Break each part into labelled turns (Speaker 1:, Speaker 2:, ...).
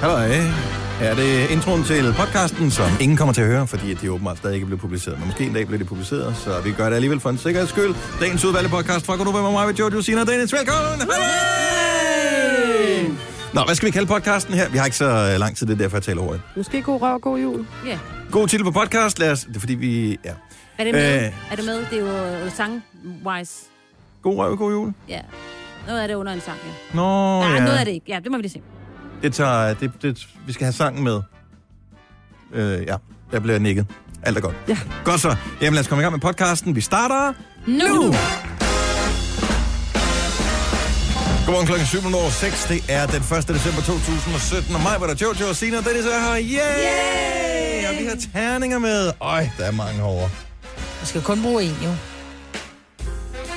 Speaker 1: Halløj. Er det introen til podcasten, som ingen kommer til at høre, fordi de åbenbart stadig ikke blev publiceret. Men måske en dag bliver det publiceret, så vi gør det alligevel for en sikkerheds skyld. Dagens udvalgte podcast fra Godova med mig, med Jojo Sina og Dennis. Velkommen! Halløj! Nå, hvad skal vi kalde podcasten her? Vi har ikke så øh, lang tid, det er derfor, jeg taler hurtigt.
Speaker 2: Måske god røv og god jul.
Speaker 3: Ja.
Speaker 1: God titel på podcast, lad os... Det er fordi, vi... Ja.
Speaker 3: Er det med?
Speaker 1: Øh.
Speaker 3: Er det med? Det er jo øh, sang-wise.
Speaker 1: God røv, god jul.
Speaker 3: Ja. Noget af det er under en sang, ja.
Speaker 1: Nå,
Speaker 3: Nej,
Speaker 1: ja.
Speaker 3: noget af det ikke. Ja, det må vi lige se.
Speaker 1: Det tager, det, det, vi skal have sangen med. Øh, ja, der bliver nikket. Alt er godt.
Speaker 2: Ja.
Speaker 1: Godt så. Jamen lad os komme i gang med podcasten. Vi starter.
Speaker 3: Nu!
Speaker 1: Godmorgen klokken 7.06. Det er den 1. december 2017. Og mig var der Jojo og Sina og Dennis er her. Yay! Yay! Og vi har terninger med. Øj, der er mange over.
Speaker 4: Du skal kun bruge en, jo.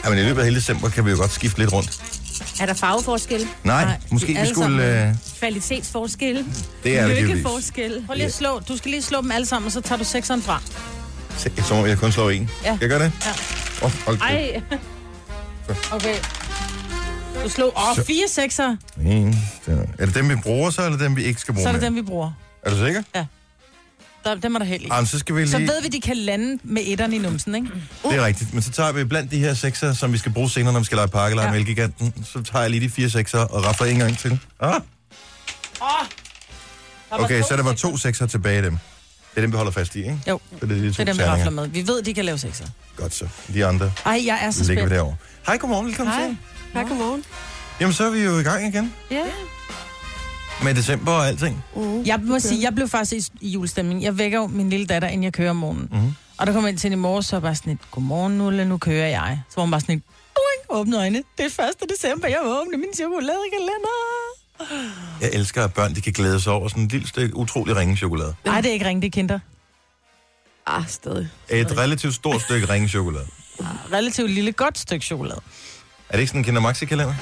Speaker 1: Jamen i løbet af hele december kan vi jo godt skifte lidt rundt.
Speaker 3: Er der farveforskel?
Speaker 1: Nej, Nej
Speaker 4: Nej,
Speaker 1: måske
Speaker 4: vi
Speaker 1: vi
Speaker 4: alle
Speaker 1: skulle...
Speaker 4: sammen.
Speaker 1: Øh,
Speaker 3: Kvalitetsforskel?
Speaker 1: det er det givetvis.
Speaker 3: Lykkeforskel?
Speaker 4: Prøv lige at slå. Du skal lige slå dem alle sammen, og så tager du sekseren fra.
Speaker 1: Se, Som om jeg kun slår en.
Speaker 4: Ja.
Speaker 1: Jeg gør det?
Speaker 4: Ja.
Speaker 1: Oh, hold
Speaker 3: Ej,
Speaker 1: Ej.
Speaker 4: Okay. Du slog åh,
Speaker 1: Så-
Speaker 4: fire sekser,
Speaker 1: En, der- er Mm, det dem, vi bruger så, eller dem, vi ikke skal bruge
Speaker 4: så er det
Speaker 1: mere?
Speaker 4: dem, vi bruger.
Speaker 1: Er du sikker?
Speaker 4: Der, dem er der held i.
Speaker 1: Jamen, så skal vi lige...
Speaker 4: Så ved vi, de kan lande med etteren i numsen, ikke?
Speaker 1: Det er rigtigt. Men så tager vi blandt de her sekser, som vi skal bruge senere, når vi skal lege pakke eller ja.
Speaker 4: Ja.
Speaker 1: mælkeganten. Så tager jeg lige de fire sekser og rafler en gang til. Ah,
Speaker 4: Der var
Speaker 1: okay,
Speaker 4: to
Speaker 1: så der var
Speaker 4: sekser.
Speaker 1: to sekser tilbage i dem. Det er dem, vi holder fast i, ikke?
Speaker 4: Jo,
Speaker 1: Så det er de
Speaker 4: det
Speaker 1: to
Speaker 4: er dem, vi
Speaker 1: terninger.
Speaker 4: rafler med. Vi ved, de kan lave sekser.
Speaker 1: Godt så. De andre
Speaker 4: Ej, jeg er så
Speaker 1: ligger vi
Speaker 4: spændt.
Speaker 1: derovre. Hej, godmorgen. Velkommen
Speaker 4: Hej.
Speaker 1: til.
Speaker 2: Hej, godmorgen.
Speaker 1: Jamen, så er vi jo i gang igen
Speaker 2: Ja.
Speaker 1: med december og alting.
Speaker 4: Jeg må sige, jeg blev faktisk i, i julestemning. Jeg vækker jo min lille datter, inden jeg kører om morgenen.
Speaker 1: Mhm.
Speaker 4: Og der kom jeg ind til hende i morges, så var jeg bare sådan et, godmorgen Nulle, nu kører jeg. Så var hun bare sådan et, boing, åbne øjnene. Det er 1. december, jeg åbner min chokoladekalender.
Speaker 1: Jeg elsker, at børn de kan glæde sig over sådan et lille stykke utrolig ringe chokolade.
Speaker 4: Nej, det er ikke ringe, det er kinder.
Speaker 2: Ah, stadig.
Speaker 1: Et relativt stort stykke ringe chokolade.
Speaker 4: Relativt lille, godt stykke chokolade.
Speaker 1: Er det ikke sådan en Kinder Maxi-kalender?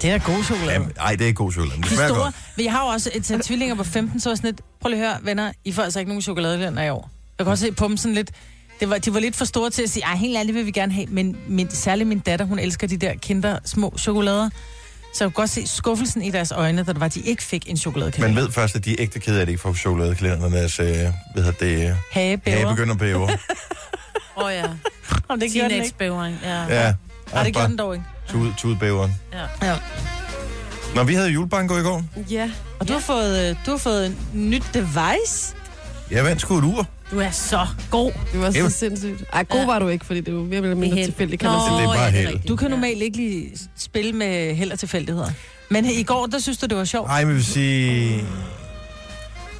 Speaker 4: Det er da god chokolade.
Speaker 1: Jamen, Nej, det er ikke god chokolade. men Det
Speaker 4: de
Speaker 1: smager
Speaker 4: store,
Speaker 1: godt.
Speaker 4: men jeg har jo også et sæt tvillinger på 15, så var jeg sådan lidt, prøv lige at høre, venner, I får altså ikke nogen chokoladekalender i år. Jeg kan også se på dem sådan lidt, det var, de var lidt for store til at sige, ej, helt ærligt vil vi gerne have, men min, særligt min datter, hun elsker de der kinder små chokolader. Så jeg kunne godt se skuffelsen i deres øjne, da det var, de ikke fik en
Speaker 1: Man
Speaker 4: chokoladekalender.
Speaker 1: ved først, at de er ægte kede af det, ikke får chokoladekalenderne, når deres, øh, hvad hedder det, øh, hage
Speaker 4: Hagebæver.
Speaker 1: begynder at bæve.
Speaker 3: Åh oh, ja.
Speaker 4: Om det gjorde den ikke.
Speaker 3: Teenage-bævring, ja.
Speaker 1: Ja.
Speaker 4: Nej, det gjorde den dog ikke.
Speaker 1: Tud, tudbæveren.
Speaker 3: ja.
Speaker 4: Ja.
Speaker 1: Nå, vi havde julebanko i går.
Speaker 2: Ja.
Speaker 4: Og du har fået, øh, du har fået en nyt device.
Speaker 1: Jeg vandt sgu et ur.
Speaker 3: Du er så god.
Speaker 2: Det var
Speaker 1: Jamen.
Speaker 2: så sindssygt. Ej, god var du ikke, fordi det var mere eller mindre
Speaker 3: held.
Speaker 2: tilfældigt, kan man
Speaker 3: Nå,
Speaker 2: sige.
Speaker 1: Det er bare
Speaker 3: ja,
Speaker 1: heldet.
Speaker 3: rigtigt.
Speaker 4: Du kan
Speaker 3: Ja.
Speaker 4: normalt ikke lige spille med held og tilfældigheder. Men i går, der synes du, det var sjovt.
Speaker 1: Ej, men jeg vil sige...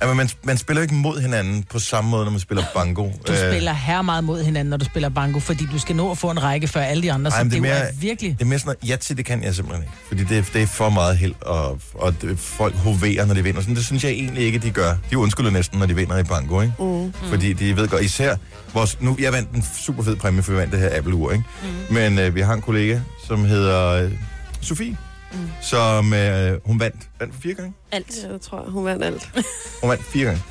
Speaker 1: Jamen, man, man spiller jo ikke mod hinanden på samme måde, når man spiller banko.
Speaker 4: Du spiller her meget mod hinanden, når du spiller banko, fordi du skal nå at få en række før alle de andre,
Speaker 1: Ej,
Speaker 4: så
Speaker 1: men det
Speaker 4: det, det
Speaker 1: er
Speaker 4: jo
Speaker 1: mere-
Speaker 4: er virkelig...
Speaker 1: Det er mere sådan noget, ja til, det kan jeg simpelthen ikke. Fordi det, det er for meget held, og, og det, folk hoverer, når de vinder. Sådan, det synes jeg egentlig ikke, de gør. De undskylder næsten, når de vinder i banko, ikke?
Speaker 2: Mm.
Speaker 1: Mm. Fordi de ved godt, især vores... Nu, jeg vandt en super fed præmie, for jeg vandt det her Apple-ur, ikke? Mm. Men øh, vi har en kollega, som hedder øh, Sofie, mm. som øh, hun vandt. Vandt for fire gange?
Speaker 3: Alt.
Speaker 2: Ja, jeg tror, hun vandt alt.
Speaker 1: Hun vandt fire gange.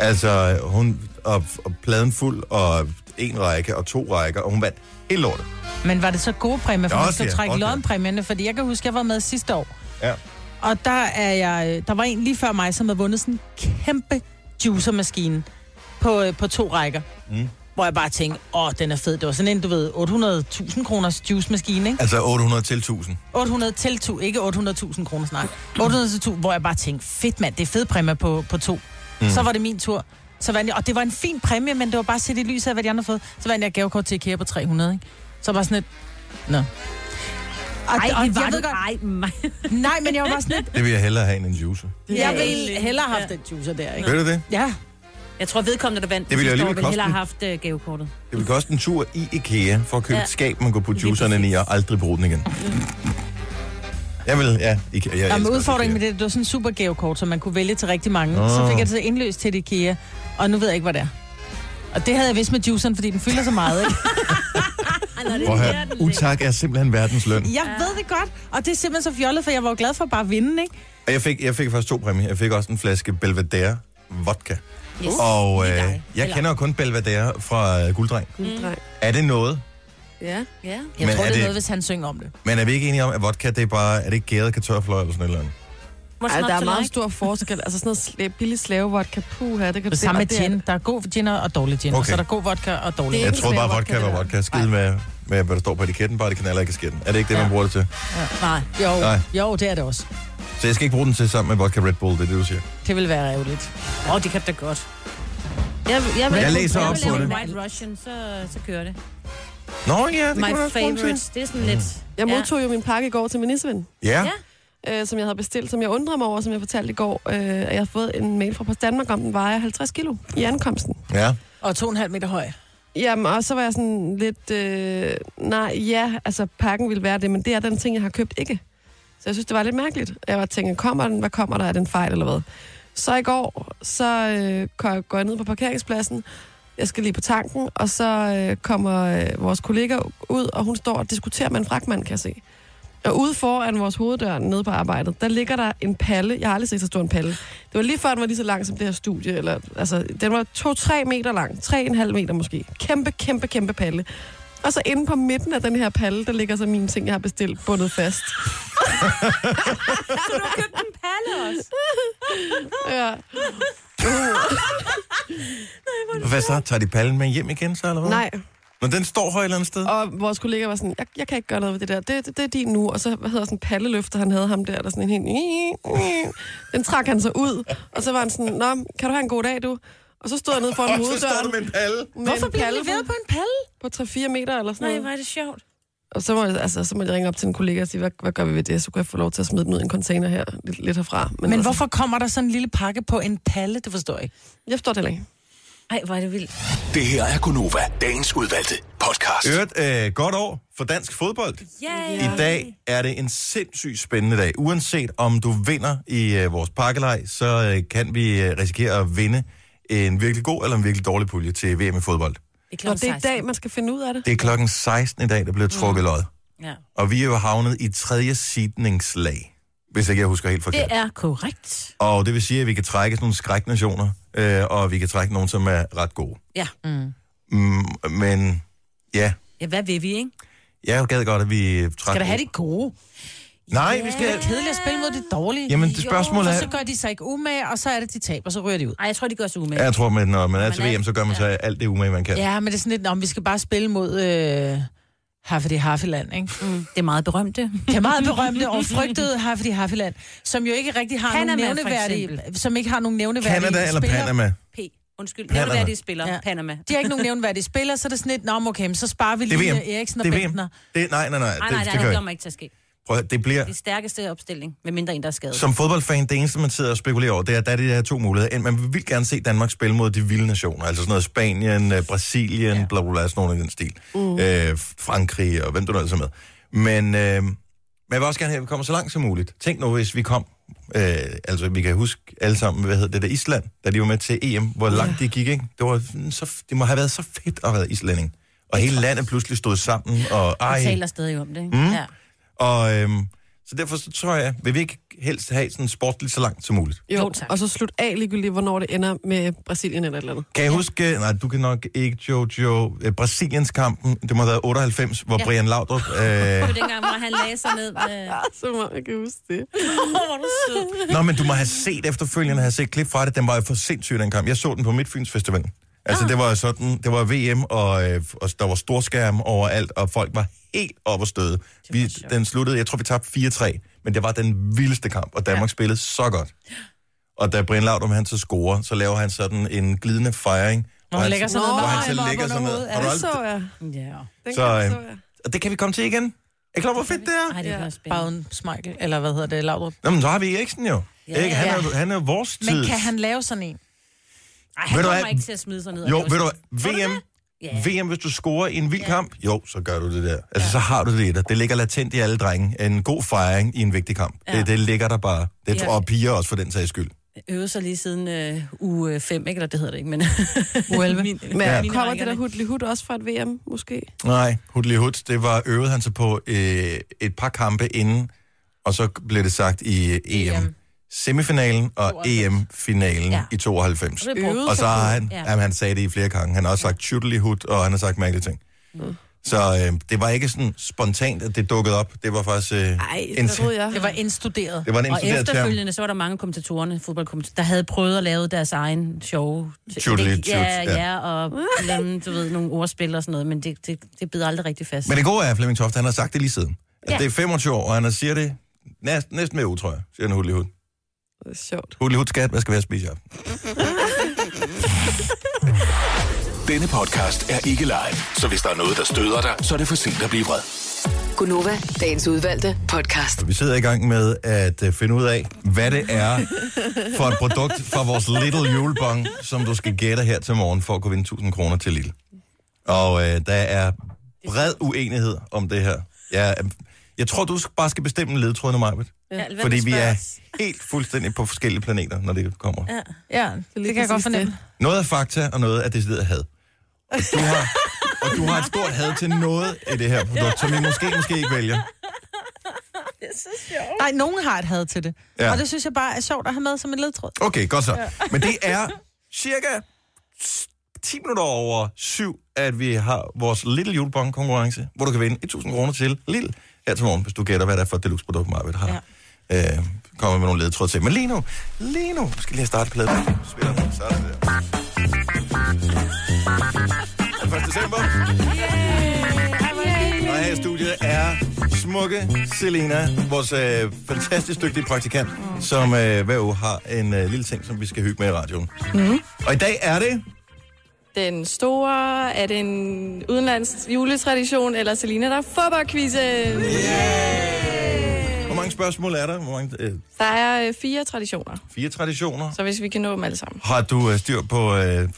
Speaker 1: altså, hun... Og, og pladen fuld, og en række, og to rækker, og hun vandt hele lortet.
Speaker 4: Men var det så gode præmier, for
Speaker 1: Ja,
Speaker 4: man
Speaker 1: også
Speaker 4: skal
Speaker 1: det,
Speaker 4: trække
Speaker 1: også det.
Speaker 4: lodpræmierne, fordi jeg kan huske, jeg var med sidste år.
Speaker 1: Ja.
Speaker 4: Og der, er jeg, der var en lige før mig, som havde vundet sådan en kæmpe juicermaskine på, øh, på to rækker.
Speaker 1: Mm.
Speaker 4: Hvor jeg bare tænkte, åh, den er fed. Det var sådan en, du ved, 800.000 kroners juicemaskine, ikke?
Speaker 1: Altså 800 til 1000.
Speaker 4: 800 til to, ikke 800.000 kroner snart. 800 til to, hvor jeg bare tænkte, fedt mand, det er fed præmie på, på to. Mm. Så var det min tur. Så vandt jeg, og det var en fin præmie, men det var bare set i lyset af, hvad de andre har fået. Så vandt jeg et gavekort til IKEA på 300, ikke? Så var sådan et... Nå. Og,
Speaker 3: Ej,
Speaker 4: og
Speaker 3: det var
Speaker 4: jeg
Speaker 3: du.
Speaker 4: ved godt,
Speaker 3: Ej, mig.
Speaker 4: nej, men jeg var bare sådan lidt...
Speaker 1: Det vil jeg hellere have end en juicer.
Speaker 4: Jeg ville hellere have haft den juicer der, ikke?
Speaker 1: Ved du det?
Speaker 4: Ja.
Speaker 3: Jeg tror, vedkommende, der vandt,
Speaker 1: Det ville
Speaker 3: sidste
Speaker 1: alligevel
Speaker 3: år, ville
Speaker 1: koste
Speaker 3: hellere
Speaker 1: den.
Speaker 3: have haft øh, gavekortet.
Speaker 1: Det vil koste en tur i IKEA for at købe ja.
Speaker 3: Ja.
Speaker 1: et skab, man går på
Speaker 3: Lige
Speaker 1: juiceren i
Speaker 3: præcis.
Speaker 1: og aldrig bruge den igen. Jeg vil, ja. IKEA, jeg
Speaker 4: Jamen,
Speaker 1: elsker også
Speaker 4: udfordringen med
Speaker 1: IKEA.
Speaker 4: det, det var sådan en super gavekort, som man kunne vælge til rigtig mange.
Speaker 1: Nå.
Speaker 4: Så fik jeg det så indløst til et IKEA, og nu ved jeg ikke, hvad det er. Og det havde jeg vist med juiceren, fordi den fylder så meget, ikke?
Speaker 3: Ej, når det
Speaker 1: Prøv at
Speaker 3: der,
Speaker 1: høre,
Speaker 3: den ligger.
Speaker 1: utak er simpelthen verdens løn.
Speaker 4: Jeg ja. ved det godt, og det er simpelthen så fjollet, for jeg var jo glad for bare at vinde, ikke?
Speaker 1: Og jeg fik, jeg fik faktisk to præmier. Jeg fik også en flaske Belvedere vodka.
Speaker 3: Yes.
Speaker 1: Og øh,
Speaker 3: Lige dig.
Speaker 1: jeg
Speaker 3: Eller-
Speaker 1: kender jo kun Belvedere fra øh, Gulddreng.
Speaker 2: Gud, dreng.
Speaker 1: Er det noget?
Speaker 2: Mm. Ja.
Speaker 3: Ja.
Speaker 4: Jeg
Speaker 1: Men
Speaker 4: men tror,
Speaker 1: er
Speaker 4: det er
Speaker 1: det-
Speaker 4: noget, hvis han synger om det.
Speaker 1: Men er vi ikke enige om, at vodka det er bare, er det ikke gæret kartofler eller sådan noget?
Speaker 3: What's
Speaker 2: Ej,
Speaker 3: not
Speaker 2: der er
Speaker 3: to
Speaker 2: meget
Speaker 3: like?
Speaker 2: stor forskel. Altså sådan noget sla- billig slavevodka, puha, det kan du
Speaker 4: Det samme med
Speaker 2: og det er-
Speaker 4: gin. Der er god gin og dårlig gin, okay. og
Speaker 1: Okay.
Speaker 4: så er der god vodka og dårlig
Speaker 2: Det er
Speaker 1: Jeg
Speaker 2: ikke
Speaker 1: troede bare,
Speaker 2: smager
Speaker 1: vodka
Speaker 2: vodka,
Speaker 1: var
Speaker 2: det der.
Speaker 1: vodka. Skide med, med, hvad der står på etiketten, bare det knaller ikke i skidten. Er det ikke det, man
Speaker 4: Ja.
Speaker 1: bruger det til?
Speaker 3: Nej.
Speaker 4: Jo,
Speaker 1: Nej.
Speaker 4: jo, det er det også.
Speaker 1: Så jeg skal ikke bruge den til sammen med vodka Red Bull, det er det, du siger.
Speaker 4: Det vil være ærgerligt.
Speaker 3: Åh, oh, det kan da godt.
Speaker 2: Jeg, jeg,
Speaker 1: Jeg
Speaker 2: jeg,
Speaker 1: læser op på
Speaker 3: lave
Speaker 1: det.
Speaker 3: en White Russian, så, så kører det.
Speaker 1: Nå ja, det
Speaker 3: My
Speaker 1: kan man også bruge den til.
Speaker 3: favorite. Det er sådan lidt...
Speaker 2: jeg modtog jo min pakke i går til min nisseven.
Speaker 1: Ja.
Speaker 3: Ja.
Speaker 2: øh, som jeg havde bestilt, som jeg undrer mig over, som jeg fortalte i går. Øh, og jeg har fået en mail fra Post Danmark om, den vejer 50 kilo i ankomsten.
Speaker 1: ja.
Speaker 4: Og to og en halv meter høj.
Speaker 2: Jamen, og så var jeg sådan lidt, øh, nej, ja, altså pakken ville være det, men det er den ting, jeg har købt ikke. Så jeg synes, det var lidt mærkeligt. Jeg var tænkt, kommer den, hvad kommer der, er den fejl eller hvad? Så i går, så øh, går jeg- går jeg ned på parkeringspladsen, jeg skal lige på tanken, og så øh, kommer øh, vores kollega ud, og hun står og diskuterer med en fragtmand, kan jeg se. Og ude foran vores hoveddør nede på arbejdet, der ligger der en palle. Jeg har aldrig set så stor en palle. Det var lige før, den var lige så lang som det her studie. Eller, altså, den var 2-3 meter lang. 3,5 meter måske. Kæmpe, kæmpe, kæmpe palle. Og så inde på midten af den her palle, der ligger så mine ting, jeg har bestilt, bundet fast.
Speaker 3: Du har købt en palle også.
Speaker 2: Ja.
Speaker 1: Hvad så? Tager de pallen med hjem igen, så eller hvad?
Speaker 2: Nej,
Speaker 1: Men den står her et eller andet sted.
Speaker 2: og vores kollega var sådan, jeg, jeg kan ikke gøre noget ved det der. Det, det, det er din nu. Og så, hvad hedder sådan en palleløfter, han havde ham der, der sådan en helt... Den trak han så ud, og så var han sådan, nå, kan du have en god dag, du? Og så stod han nede foran
Speaker 1: Og så står
Speaker 2: hoveddøren.
Speaker 1: du med en palle.
Speaker 2: med
Speaker 4: Hvorfor
Speaker 2: en
Speaker 4: bliver
Speaker 2: palle
Speaker 4: det ved på en palle?
Speaker 2: på 3-4 meter eller sådan
Speaker 3: Nej,
Speaker 2: noget.
Speaker 3: hvor er det sjovt.
Speaker 2: Og så må, jeg, altså, så må jeg ringe op til en kollega og sige, hvad, hvad gør vi ved det? Så kunne jeg få lov til at smide den ud i en container her, lidt, lidt herfra.
Speaker 4: Men
Speaker 2: altså,
Speaker 4: hvorfor kommer der sådan en lille pakke på en palle? Det forstår jeg ikke.
Speaker 2: Jeg forstår det heller ikke.
Speaker 3: Ej, hvor er det vildt.
Speaker 5: Det her er Gonova, dagens udvalgte podcast.
Speaker 1: Øvrigt, øh, godt år for dansk fodbold.
Speaker 3: Yay.
Speaker 1: I dag er det en sindssygt spændende dag. Uanset om du vinder i øh, vores pakkelej, så øh, kan vi øh, risikere at vinde en virkelig god eller en virkelig dårlig pulje til VM i fodbold.
Speaker 3: Det er
Speaker 2: Nå,
Speaker 3: klokken
Speaker 2: det er i
Speaker 3: 16.
Speaker 2: dag, man skal finde ud af det.
Speaker 1: Det er klokken 16 i dag, der bliver trukket lod.
Speaker 3: Ja.
Speaker 1: Og vi er jo havnet i tredje sidningslag, hvis ikke jeg husker helt
Speaker 3: Det
Speaker 1: forkert.
Speaker 3: er korrekt.
Speaker 1: Og det vil sige, at vi kan trække sådan nogle skræknationer, øh, og vi kan trække nogen, som er ret gode.
Speaker 3: Ja.
Speaker 1: Mm, men ja,
Speaker 3: Ja, hvad vil vi, ikke?
Speaker 1: jeg gad godt, at vi trækker...
Speaker 4: Skal der have det gode?
Speaker 1: Nej, vi skal...
Speaker 4: Det er kedeligt at spille mod det dårlige.
Speaker 1: Jamen, det spørgsmål
Speaker 4: jo,
Speaker 1: er-
Speaker 4: for Så gør de sig ikke umage, og så er det, de taber, så ryger de ud.
Speaker 3: Ej, jeg tror, de gør sig umage.
Speaker 1: Ja, jeg tror, men når man er til
Speaker 3: Man er-
Speaker 1: VM, så gør man så alt det umage, man kan.
Speaker 4: Ja, men det er sådan lidt, om vi skal bare spille mod... Øh, Haffedi Haffeland, ikke?
Speaker 3: Mm. Det er meget berømte.
Speaker 4: Det er meget berømte og frygtede Haffedi Haffeland, som jo ikke rigtig har
Speaker 3: Panama,
Speaker 4: nogen
Speaker 3: for
Speaker 4: nævneværdige... Som ikke har nogen nævneværdige
Speaker 1: Kanada eller
Speaker 4: spillere.
Speaker 1: Panama?
Speaker 3: P. Undskyld.
Speaker 1: Panama.
Speaker 3: Panama. Jeg vil de spiller.
Speaker 4: Ja.
Speaker 3: Ja. Panama.
Speaker 4: De har ikke nogen nævneværdige spillere, så er det sådan lidt, nå, men okay, men så sparer vi
Speaker 1: Det er
Speaker 4: lige øh,
Speaker 1: VM.
Speaker 4: Eriksen og
Speaker 1: Det er VM.
Speaker 4: Bentner. Ah,
Speaker 1: Det, nej, nej, nej.
Speaker 3: Ej, nej,
Speaker 1: det,
Speaker 3: det,
Speaker 1: det,
Speaker 3: det,
Speaker 1: det,
Speaker 3: kommer ikke til at ske.
Speaker 1: Prøv, at høre, det bliver...
Speaker 3: Det stærkeste opstilling, medmindre en, der er skadet.
Speaker 1: Som fodboldfan, det eneste, man sidder og spekulerer over, det er, at der er de her to muligheder. Enten man vil gerne se Danmark spille mod de vilde nationer, altså sådan noget Spanien, øh, Brasilien, ja. bla bla bla, sådan noget i den stil. Mm. Øh, Frankrig og hvem du nu altså med. Men øh, men jeg vil også gerne have, at vi kommer så langt som muligt. Tænk nu, hvis vi kom, øh, altså vi kan huske alle sammen, hvad hedder det der Island, da de var med til EM, hvor langt de gik, ikke? Det, var, sådan så, det må have været så fedt at være islænding. Og hele landet pludselig stod sammen, og
Speaker 3: Vi
Speaker 1: ej,
Speaker 3: taler stadig om det, ikke? Mm. Ja.
Speaker 1: og øhm, så derfor så tror jeg, vil vi ikke helst have sådan en sport lige så langt som muligt.
Speaker 2: Jo,
Speaker 3: Jo, tak.
Speaker 2: og så slut af ligegyldigt, hvornår det ender med Brasilien eller et eller andet.
Speaker 1: Kan jeg huske, øh, nej, du kan nok ikke, Jojo, øh, Brasiliens kampen, det må have været 98, hvor ja.
Speaker 3: Ja.
Speaker 1: Brian Laudrup,
Speaker 3: Det
Speaker 1: øh,
Speaker 3: var dengang, hvor han lagde sig ned. Med...
Speaker 2: Ah, så må jeg kan huske det.
Speaker 3: Åh, hvor er du sød.
Speaker 1: nå, men du må have set efterfølgende, have set klip fra det, den var jo for sindssyg, den kamp. Jeg så den på Midtfyns Festival. Altså, det var sådan, det var VM, og, øh, og der var storskærm overalt, og folk var helt op og støde. Vi, den sluttede, jeg tror, vi tabte 4-3, men det var den vildeste kamp, og Danmark ja. spillede så godt. Og da Brian Laudrup, han så scorer, så laver han sådan en glidende fejring. Hvor
Speaker 4: han lægger sig ned
Speaker 1: Hvor
Speaker 4: med
Speaker 1: han så
Speaker 4: armen op
Speaker 1: lægger
Speaker 4: under
Speaker 1: sig ned.
Speaker 4: hovedet.
Speaker 1: Har du
Speaker 2: Det
Speaker 1: aldrig-
Speaker 2: så jeg.
Speaker 3: Ja.
Speaker 1: Så,
Speaker 2: Den så,
Speaker 1: øh,
Speaker 2: så jeg.
Speaker 1: Og det kan vi komme til igen. Er I klar, hvor fedt det er?
Speaker 3: Ej, det
Speaker 2: Ja.
Speaker 3: er også
Speaker 4: Bare
Speaker 3: spændende.
Speaker 4: uden Smeichel, eller hvad hedder det, Laudrup.
Speaker 1: Nå, men så har vi Eriksen jo.
Speaker 3: Ja.
Speaker 1: Ikke? Han, er, jo- han er jo vores tid.
Speaker 4: Men kan han lave sådan en?
Speaker 3: Ej,
Speaker 1: Ved
Speaker 3: han
Speaker 1: du
Speaker 3: kommer
Speaker 1: hvad?
Speaker 3: ikke til at smide sig ned.
Speaker 1: Jo,
Speaker 3: og-
Speaker 1: ved du,
Speaker 3: Tror
Speaker 1: hvad? VM,
Speaker 3: det? Ja.
Speaker 1: VM, hvis du scorer i en vild kamp, jo, så gør du det der. Altså, så har du det i dig. Det ligger latent i alle drenge. En god fejring i en vigtig kamp. Ja.
Speaker 3: Ja.
Speaker 1: Det, det ligger der bare. Det
Speaker 3: Ja.
Speaker 1: tror og piger også for den sags skyld.
Speaker 3: Øvet sig lige siden øh, uge 5, ikke? Eller det hedder det ikke, men...
Speaker 4: U11.
Speaker 3: Min-
Speaker 2: Men
Speaker 1: Ja.
Speaker 2: ja. kommer det der
Speaker 3: rækkerne.
Speaker 2: hudli hud også fra et VM, måske?
Speaker 1: Nej, Hudli Hud, det var øvet han sig på øh, et par kampe inden, og så blev det sagt i øh, EM.
Speaker 3: E
Speaker 1: EM.
Speaker 4: EM.
Speaker 1: Semifinalen og
Speaker 4: 92.
Speaker 1: EM-finalen
Speaker 3: Ja.
Speaker 1: i 92.
Speaker 3: Så det er brugt.
Speaker 2: Øvet.
Speaker 1: Og så har han, ja.
Speaker 3: Ja.
Speaker 2: Mm.
Speaker 1: jamen, han sagde det i flere gange. Han har også sagt chuttlehut, og han har sagt mærkelige ting. Så øh, det var ikke sådan spontant, at det dukkede op. Det var faktisk... Øh,
Speaker 2: Ej,
Speaker 1: en-
Speaker 2: det troede jeg.
Speaker 4: Det var indstuderet.
Speaker 1: det var en
Speaker 3: Og
Speaker 1: instuderet term.
Speaker 3: efterfølgende, så var der mange kommentatorerne, fodboldkommentatorer, der havde prøvet at lave deres egen sjove...
Speaker 1: Tjudeli-tjut,
Speaker 3: ja,
Speaker 1: ja.
Speaker 3: ja, og lande, du ved, nogle ordspil og sådan noget, men det, det, det bider aldrig rigtig fast.
Speaker 1: Men det gode er, at Flemming Toft, han har sagt det lige siden. At
Speaker 3: Ja.
Speaker 1: det er 25 år, og han har- siger det næsten, næsten med utro, siger han hudlig hud.
Speaker 2: Det er sjovt.
Speaker 1: Hudlig hud, skat, hvad skal vi have at spise i aften?
Speaker 5: Denne podcast er ikke live, så hvis der er noget, der støder dig, så er det for sent at blive vred.
Speaker 6: Gunova, dagens udvalgte podcast.
Speaker 1: Vi sidder i gang med at øh, finde ud af, hvad det er for et produkt fra vores Little Julebong, som du skal gætte her til morgen for at kunne vinde 1000 kroner til Lille. Og øh, der er bred uenighed om det her. Jeg, jeg tror, du bare skal bestemme ledtrådene, Majbet.
Speaker 3: Ja, hvem
Speaker 1: Fordi vi
Speaker 3: spørger
Speaker 1: er
Speaker 3: os?
Speaker 1: helt fuldstændig på forskellige planeter, når det kommer.
Speaker 3: Ja.
Speaker 4: Ja, det, det kan jeg
Speaker 2: præcis
Speaker 4: godt fornemme.
Speaker 1: Noget er fakta, og noget er decideret had. Og du har, og du har et stort had til noget i det her produkt, som vi måske, måske ikke vælger.
Speaker 4: Nej, nogen har et had til det.
Speaker 1: Ja.
Speaker 4: Ja. Og det synes jeg bare er sjovt at have med som en ledtråd.
Speaker 1: Okay, godt så. Men det er cirka 10 minutter over syv, at vi har vores Little Julebong konkurrence, hvor du kan vinde 1000 kroner til Lille her til morgen, hvis du gætter, hvad det er for et deluxe produkt, Marvitt har. Ja. Øh, kommer med nogle ledtråd til. Men lige nu, lige nu, skal jeg lige starte pladen. Spiller den, så er det der. Er det 1. december? Og her i studiet er smukke Selena, vores øh, fantastisk dygtige praktikant, som øh, hver uge har en øh, lille ting, som vi skal hygge med i radioen. Mm. Og i dag er det...
Speaker 7: Den store, er det en udenlands juletradition, eller Selina, der er fodboldquizzen?
Speaker 1: Hvor mange spørgsmål er der? Hvor mange, øh,
Speaker 7: Der er øh, fire traditioner,
Speaker 1: fire traditioner.
Speaker 7: så hvis vi kan nå dem alle sammen.
Speaker 1: Har du øh, styr på øh,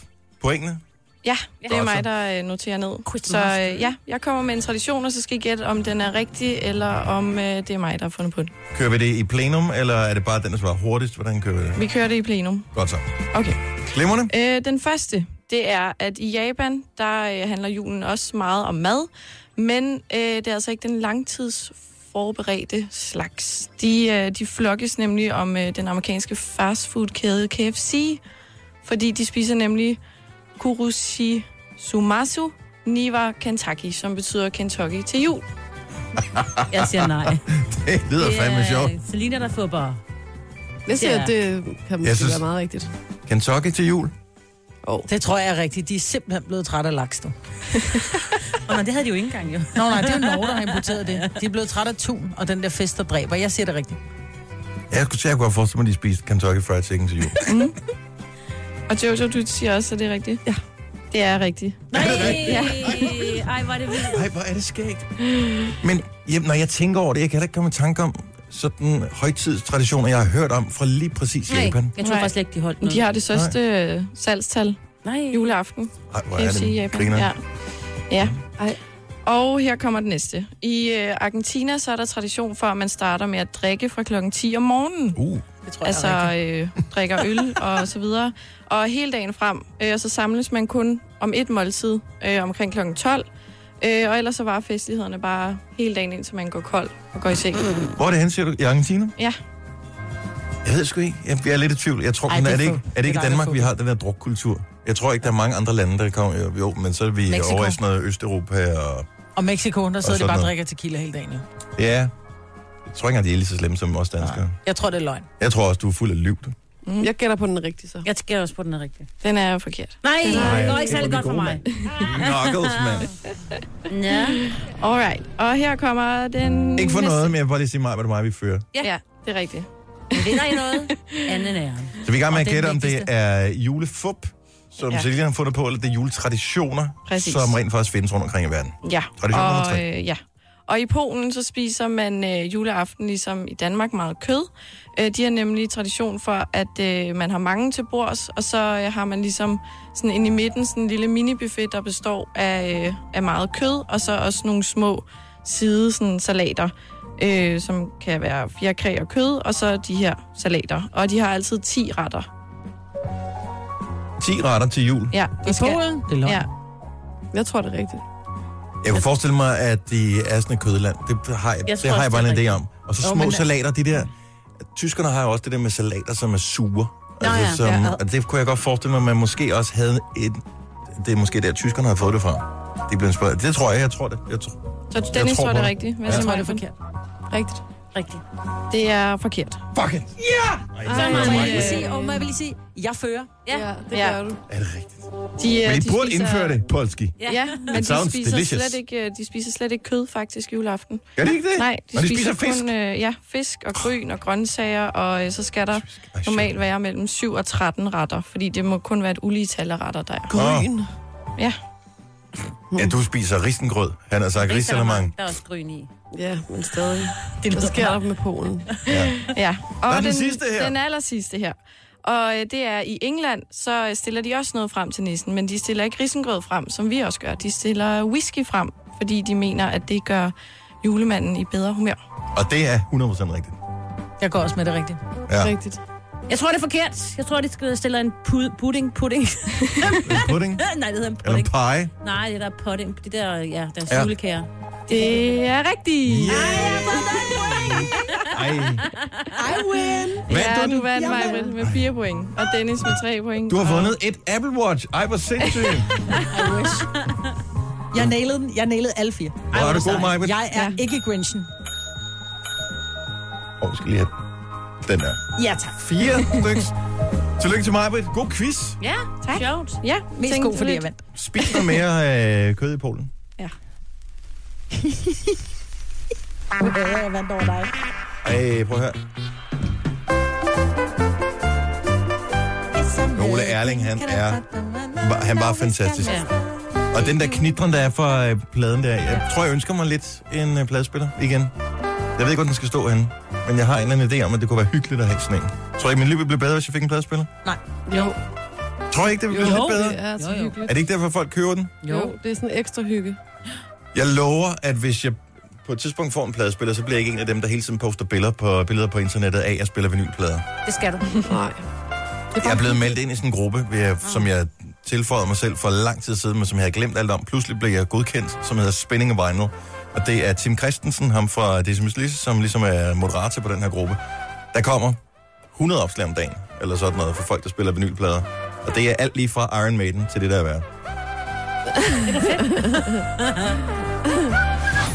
Speaker 1: pointene?
Speaker 7: Ja, det er
Speaker 1: Godt så.
Speaker 7: mig, der øh, noterer ned. Så øh, ja, jeg kommer med en tradition, og så skal I gætte, om den er rigtig, eller om øh, det er mig, der har fundet på den.
Speaker 1: Kører vi det i plenum, eller er det bare den, der svarer hurtigst? Hvordan kører vi det?
Speaker 7: Vi kører det i plenum.
Speaker 1: Godt så.
Speaker 7: Okay.
Speaker 1: Glimrende.
Speaker 7: Øh, den første, det er, at i Japan, der øh, handler julen også meget om mad, men øh, det er altså ikke den langtidsforberedte slags. De, øh, de flokkes nemlig om øh, den amerikanske fastfoodkæde KFC, fordi de spiser nemlig kurushi sumasu niwa Kentucky, som betyder Kentucky til jul.
Speaker 3: Jeg siger nej. øh,
Speaker 1: Det lyder fandme sjovt.
Speaker 3: Selina, der fodbold.
Speaker 2: Jeg siger,
Speaker 3: Ja.
Speaker 2: at det kan måske
Speaker 1: synes-
Speaker 2: synes... være meget rigtigt.
Speaker 1: Kentucky til jul.
Speaker 4: Det tror jeg er rigtigt. De er simpelthen blevet trætte af laks nu.
Speaker 3: Og men det havde de jo ikke engang, jo.
Speaker 4: Nå nej, det er jo Norge, der har importeret det. De er blevet trætte af tun og den der fest, der dræber. Jeg siger det rigtigt.
Speaker 1: Ja, Jeg kunne jeg kunne godt forestille mig, at de spiste Kentucky Fried Chicken til jul.
Speaker 7: Og Jojo, du siger også, at det er rigtigt? Ja. Det er rigtigt.
Speaker 3: Nej, ej, var det vildt.
Speaker 1: Nej, hvor er det skægt. Men jamen, når jeg tænker over det, jeg kan da ikke komme i tanke om sådan højtidstraditioner, jeg har hørt om fra lige præcis
Speaker 3: Nej,
Speaker 1: Japan.
Speaker 3: jeg tror
Speaker 7: Nej.
Speaker 3: faktisk ikke, de holdt noget.
Speaker 7: De har det største øh, salgstal
Speaker 3: Nej.
Speaker 7: juleaften.
Speaker 1: Ej, hvor er
Speaker 7: KFC i
Speaker 1: det
Speaker 7: Japan.
Speaker 1: griner. Mm.
Speaker 7: Ja.
Speaker 1: Ja.
Speaker 7: ja.
Speaker 2: Ej.
Speaker 7: Og her kommer den næste. I øh, Argentina så er der tradition for, at man starter med at drikke fra klokken 10 om morgenen.
Speaker 1: Uh,
Speaker 4: Det tror altså, jeg er
Speaker 7: Altså
Speaker 4: rigtigt.
Speaker 7: øh, drikker øl og så videre. Og hele dagen frem, øh, og så samles man kun om et måltid øh, omkring klokken 12. Øh, og ellers så var festlighederne bare hele dagen, indtil man går kold og går i seng.
Speaker 4: Mm.
Speaker 1: hvor er det hen, siger du? I Argentina?
Speaker 7: Ja.
Speaker 1: Jeg ved sgu ikke. Jeg, jeg er lidt i tvivl. Jeg tror,
Speaker 4: Ej,
Speaker 1: Ej,
Speaker 4: det
Speaker 1: er,
Speaker 4: er
Speaker 1: det ikke,
Speaker 4: få.
Speaker 1: er det
Speaker 4: Det
Speaker 1: ikke
Speaker 4: er
Speaker 1: i
Speaker 4: der,
Speaker 1: Danmark,
Speaker 4: der er
Speaker 1: vi
Speaker 4: få.
Speaker 1: har den der drukkultur? Jeg tror ikke, der er mange andre lande, der kommer. Jo, Jo, men så er vi
Speaker 4: Mexico.
Speaker 1: over i sådan noget Østeuropa og...
Speaker 4: Og Mexico, der sidder de
Speaker 1: sådan
Speaker 4: bare og
Speaker 1: noget.
Speaker 4: drikker tequila hele dagen. Jo.
Speaker 1: Ja, jeg tror ikke, at de er lige så slemme som os danskere. Nej.
Speaker 4: Jeg tror, det er løgn.
Speaker 1: Jeg tror også, du er fuld af liv. du.
Speaker 2: Jeg gætter på den rigtige, så.
Speaker 3: Jeg skal også på den er rigtig.
Speaker 7: Den er forkert.
Speaker 3: Nej, det går
Speaker 1: det
Speaker 3: ikke
Speaker 1: var
Speaker 3: særlig
Speaker 1: de
Speaker 3: godt for
Speaker 1: gode,
Speaker 3: mig.
Speaker 1: Knuckles, mand.
Speaker 3: Ja.
Speaker 7: Alright. Og her kommer den
Speaker 1: Ikke for
Speaker 7: næste.
Speaker 1: noget, men jeg vil bare lige sige mig, hvad det er mig, vi fører.
Speaker 7: Ja. ja, det er rigtigt.
Speaker 3: Det er noget. Anden er han.
Speaker 1: Så vi er i gang med
Speaker 4: Og
Speaker 1: at
Speaker 4: det er
Speaker 1: gætte, om det
Speaker 4: vigtigste.
Speaker 1: er julefup, som ja.
Speaker 7: Ja.
Speaker 1: Silja har fundet på, eller det er juletraditioner, Præcis.
Speaker 7: Præcis.
Speaker 1: som rent faktisk findes rundt omkring i verden.
Speaker 7: Ja.
Speaker 1: Tradition nummer
Speaker 7: Og,
Speaker 1: tre.
Speaker 7: øh, ja. Og i Polen, så spiser man øh, juleaften, ligesom i Danmark, meget kød. Øh, de har nemlig tradition for, at øh, man har mange til bords, og så øh, har man ligesom sådan inde i midten sådan en lille minibuffet, der består af, øh, af meget kød, og så også nogle små side sådan, salater, øh, som kan være fjerkræ og kød, og så de her salater. Og de har altid 10 retter.
Speaker 1: 10 retter til jul.
Speaker 7: Ja,
Speaker 4: I
Speaker 7: det
Speaker 4: Polen? Det er løgn.
Speaker 7: Ja.
Speaker 4: Ja.
Speaker 2: Jeg tror, det er rigtigt.
Speaker 1: Jeg kunne forestille mig, at de er sådan et kødland. Det har jeg,
Speaker 3: Jeg
Speaker 1: det
Speaker 3: tror
Speaker 1: har jeg bare
Speaker 3: også,
Speaker 1: en
Speaker 3: det
Speaker 1: idé
Speaker 3: er
Speaker 1: om. Og så
Speaker 4: Jo,
Speaker 1: små
Speaker 4: men-
Speaker 1: salater, de der... Tyskerne har jo også det der med salater, som er sure. Altså,
Speaker 3: ja.
Speaker 1: som,
Speaker 3: Ja.
Speaker 1: Og det kunne jeg godt forestille mig, at man måske også havde et... Det er måske der, tyskerne har fået det fra. De blev inspireret. Det tror jeg, jeg tror det. Jeg tror.
Speaker 7: Så Dennis
Speaker 1: tror
Speaker 7: tror,
Speaker 1: på det.
Speaker 7: det rigtigt. Hvad
Speaker 1: Ja.
Speaker 7: siger
Speaker 1: Jeg
Speaker 4: tror, det er
Speaker 7: Maja?
Speaker 4: forkert.
Speaker 7: Rigtigt.
Speaker 3: Rigtigt.
Speaker 7: Det er forkert.
Speaker 1: Fuck it! Ja! Ej,
Speaker 3: Så må
Speaker 1: det er
Speaker 3: jeg
Speaker 1: mig.
Speaker 3: lige sige, og må jeg lige sige, jeg fører. Ja.
Speaker 2: Ja, det
Speaker 7: Ja.
Speaker 2: gør du.
Speaker 1: Er det rigtigt?
Speaker 7: De, øh,
Speaker 1: Men I
Speaker 7: de
Speaker 1: burde
Speaker 7: spiser-
Speaker 1: indføre det, Polski.
Speaker 7: Ja, ja men de
Speaker 1: sounds
Speaker 7: spiser,
Speaker 1: delicious.
Speaker 7: slet ikke, øh, de spiser slet ikke kød faktisk juleaften.
Speaker 1: Gør det ikke det?
Speaker 7: Nej, de,
Speaker 1: Og de
Speaker 7: spiser,
Speaker 1: spiser fisk?
Speaker 7: kun øh, ja, fisk og grøn og grøntsager, og øh, så skal der
Speaker 1: Ej, shit.
Speaker 7: normalt være mellem 7 og 13 retter, fordi det må kun være et ulige tal af retter, der er.
Speaker 2: Gryn.
Speaker 7: Ja,
Speaker 1: Ja, du spiser risengrød. Han har sagt risalamang.
Speaker 3: Der er også grøn i.
Speaker 2: Ja, men stadig. Det Hvad sker der med Polen?
Speaker 7: ja. Og
Speaker 1: er den sidste her.
Speaker 7: Den aller sidste her. Og øh, det er i England, så øh, stiller de også noget frem til nissen, men de stiller ikke risengrød frem, som vi også gør. De stiller whisky frem, fordi de mener, at det gør julemanden i bedre humør.
Speaker 1: Og det er 100% rigtigt.
Speaker 4: Jeg går også med det rigtigt.
Speaker 1: Ja.
Speaker 2: Rigtigt.
Speaker 3: Jeg tror, det er forkert. Jeg tror, det skal stille en pud- pudding. Pudding.
Speaker 1: Pudding?
Speaker 3: Nej, det hedder en
Speaker 1: Eller
Speaker 3: pudding.
Speaker 1: en pie?
Speaker 3: Nej, det der pudding. Det der, ja, der
Speaker 1: Ja.
Speaker 3: er julekager.
Speaker 7: Det er rigtigt!
Speaker 1: Yeah. Ej,
Speaker 2: I win!
Speaker 1: Vandt
Speaker 7: ja,
Speaker 1: du
Speaker 7: du
Speaker 1: den?
Speaker 7: vandt mig med fire point, og Dennis med tre point.
Speaker 1: du har vundet et Apple Watch. Ej, hvor sindssygt.
Speaker 4: Jeg nailede den. Jeg nailede alle fire.
Speaker 1: Hvor er du god, Maja.
Speaker 4: Jeg er
Speaker 7: Ja.
Speaker 4: ikke Grinchen.
Speaker 1: Åh, vi skal lige have den der.
Speaker 4: Ja, tak.
Speaker 1: Fire styks. Tillykke til mig, Britt. God quiz.
Speaker 3: Ja, tak. Sjovt.
Speaker 7: Ja,
Speaker 4: Mest
Speaker 7: tænkte
Speaker 4: god, fordi
Speaker 7: lidt.
Speaker 4: jeg vandt.
Speaker 1: Spis noget mere øh, kød i Polen.
Speaker 7: Ja.
Speaker 4: Jeg vandt over dig.
Speaker 1: Ej, prøv at høre. Ole Erling, han er- Ba- Han var fantastisk.
Speaker 3: Ja.
Speaker 1: Og den der knitren, der er fra øh, pladen der. Jeg tror, jeg ønsker mig lidt en øh, pladespiller igen. Jeg ved ikke, hvor den skal stå henne. Men jeg har en eller anden idé om, at det kunne være hyggeligt at have sådan en. Tror I, mit liv ville blive bedre, hvis jeg fik en pladespiller?
Speaker 2: Jo,
Speaker 1: Tror I ikke, det ville blive
Speaker 2: jo,
Speaker 1: lidt bedre?
Speaker 2: det er så
Speaker 3: Jo, jo.
Speaker 1: Er
Speaker 2: hyggeligt.
Speaker 1: det ikke derfor, folk køber den?
Speaker 2: Jo, det er sådan ekstra hygge.
Speaker 1: Jeg lover, at hvis jeg på et tidspunkt får en pladespiller, så bliver jeg ikke en af dem, der hele tiden poster billeder på, billeder på internettet af, at jeg spiller vinylplader.
Speaker 3: Det skal du.
Speaker 2: Nej. Det
Speaker 1: Jeg er blevet meldt ind i sådan en gruppe, ved, at- som jeg tilføjede mig selv for lang tid siden, men som jeg havde glemt alt om. Pludselig blev jeg godkendt, som hedder Spinning of Vinyl. Og det er Tim Christensen, ham fra Decimus Lisse, som ligesom er moderator på den her gruppe. Der kommer 100 opslag om dagen, eller sådan noget, for folk, der spiller vinylplader. Og det er alt lige fra Iron Maiden til det der er værd.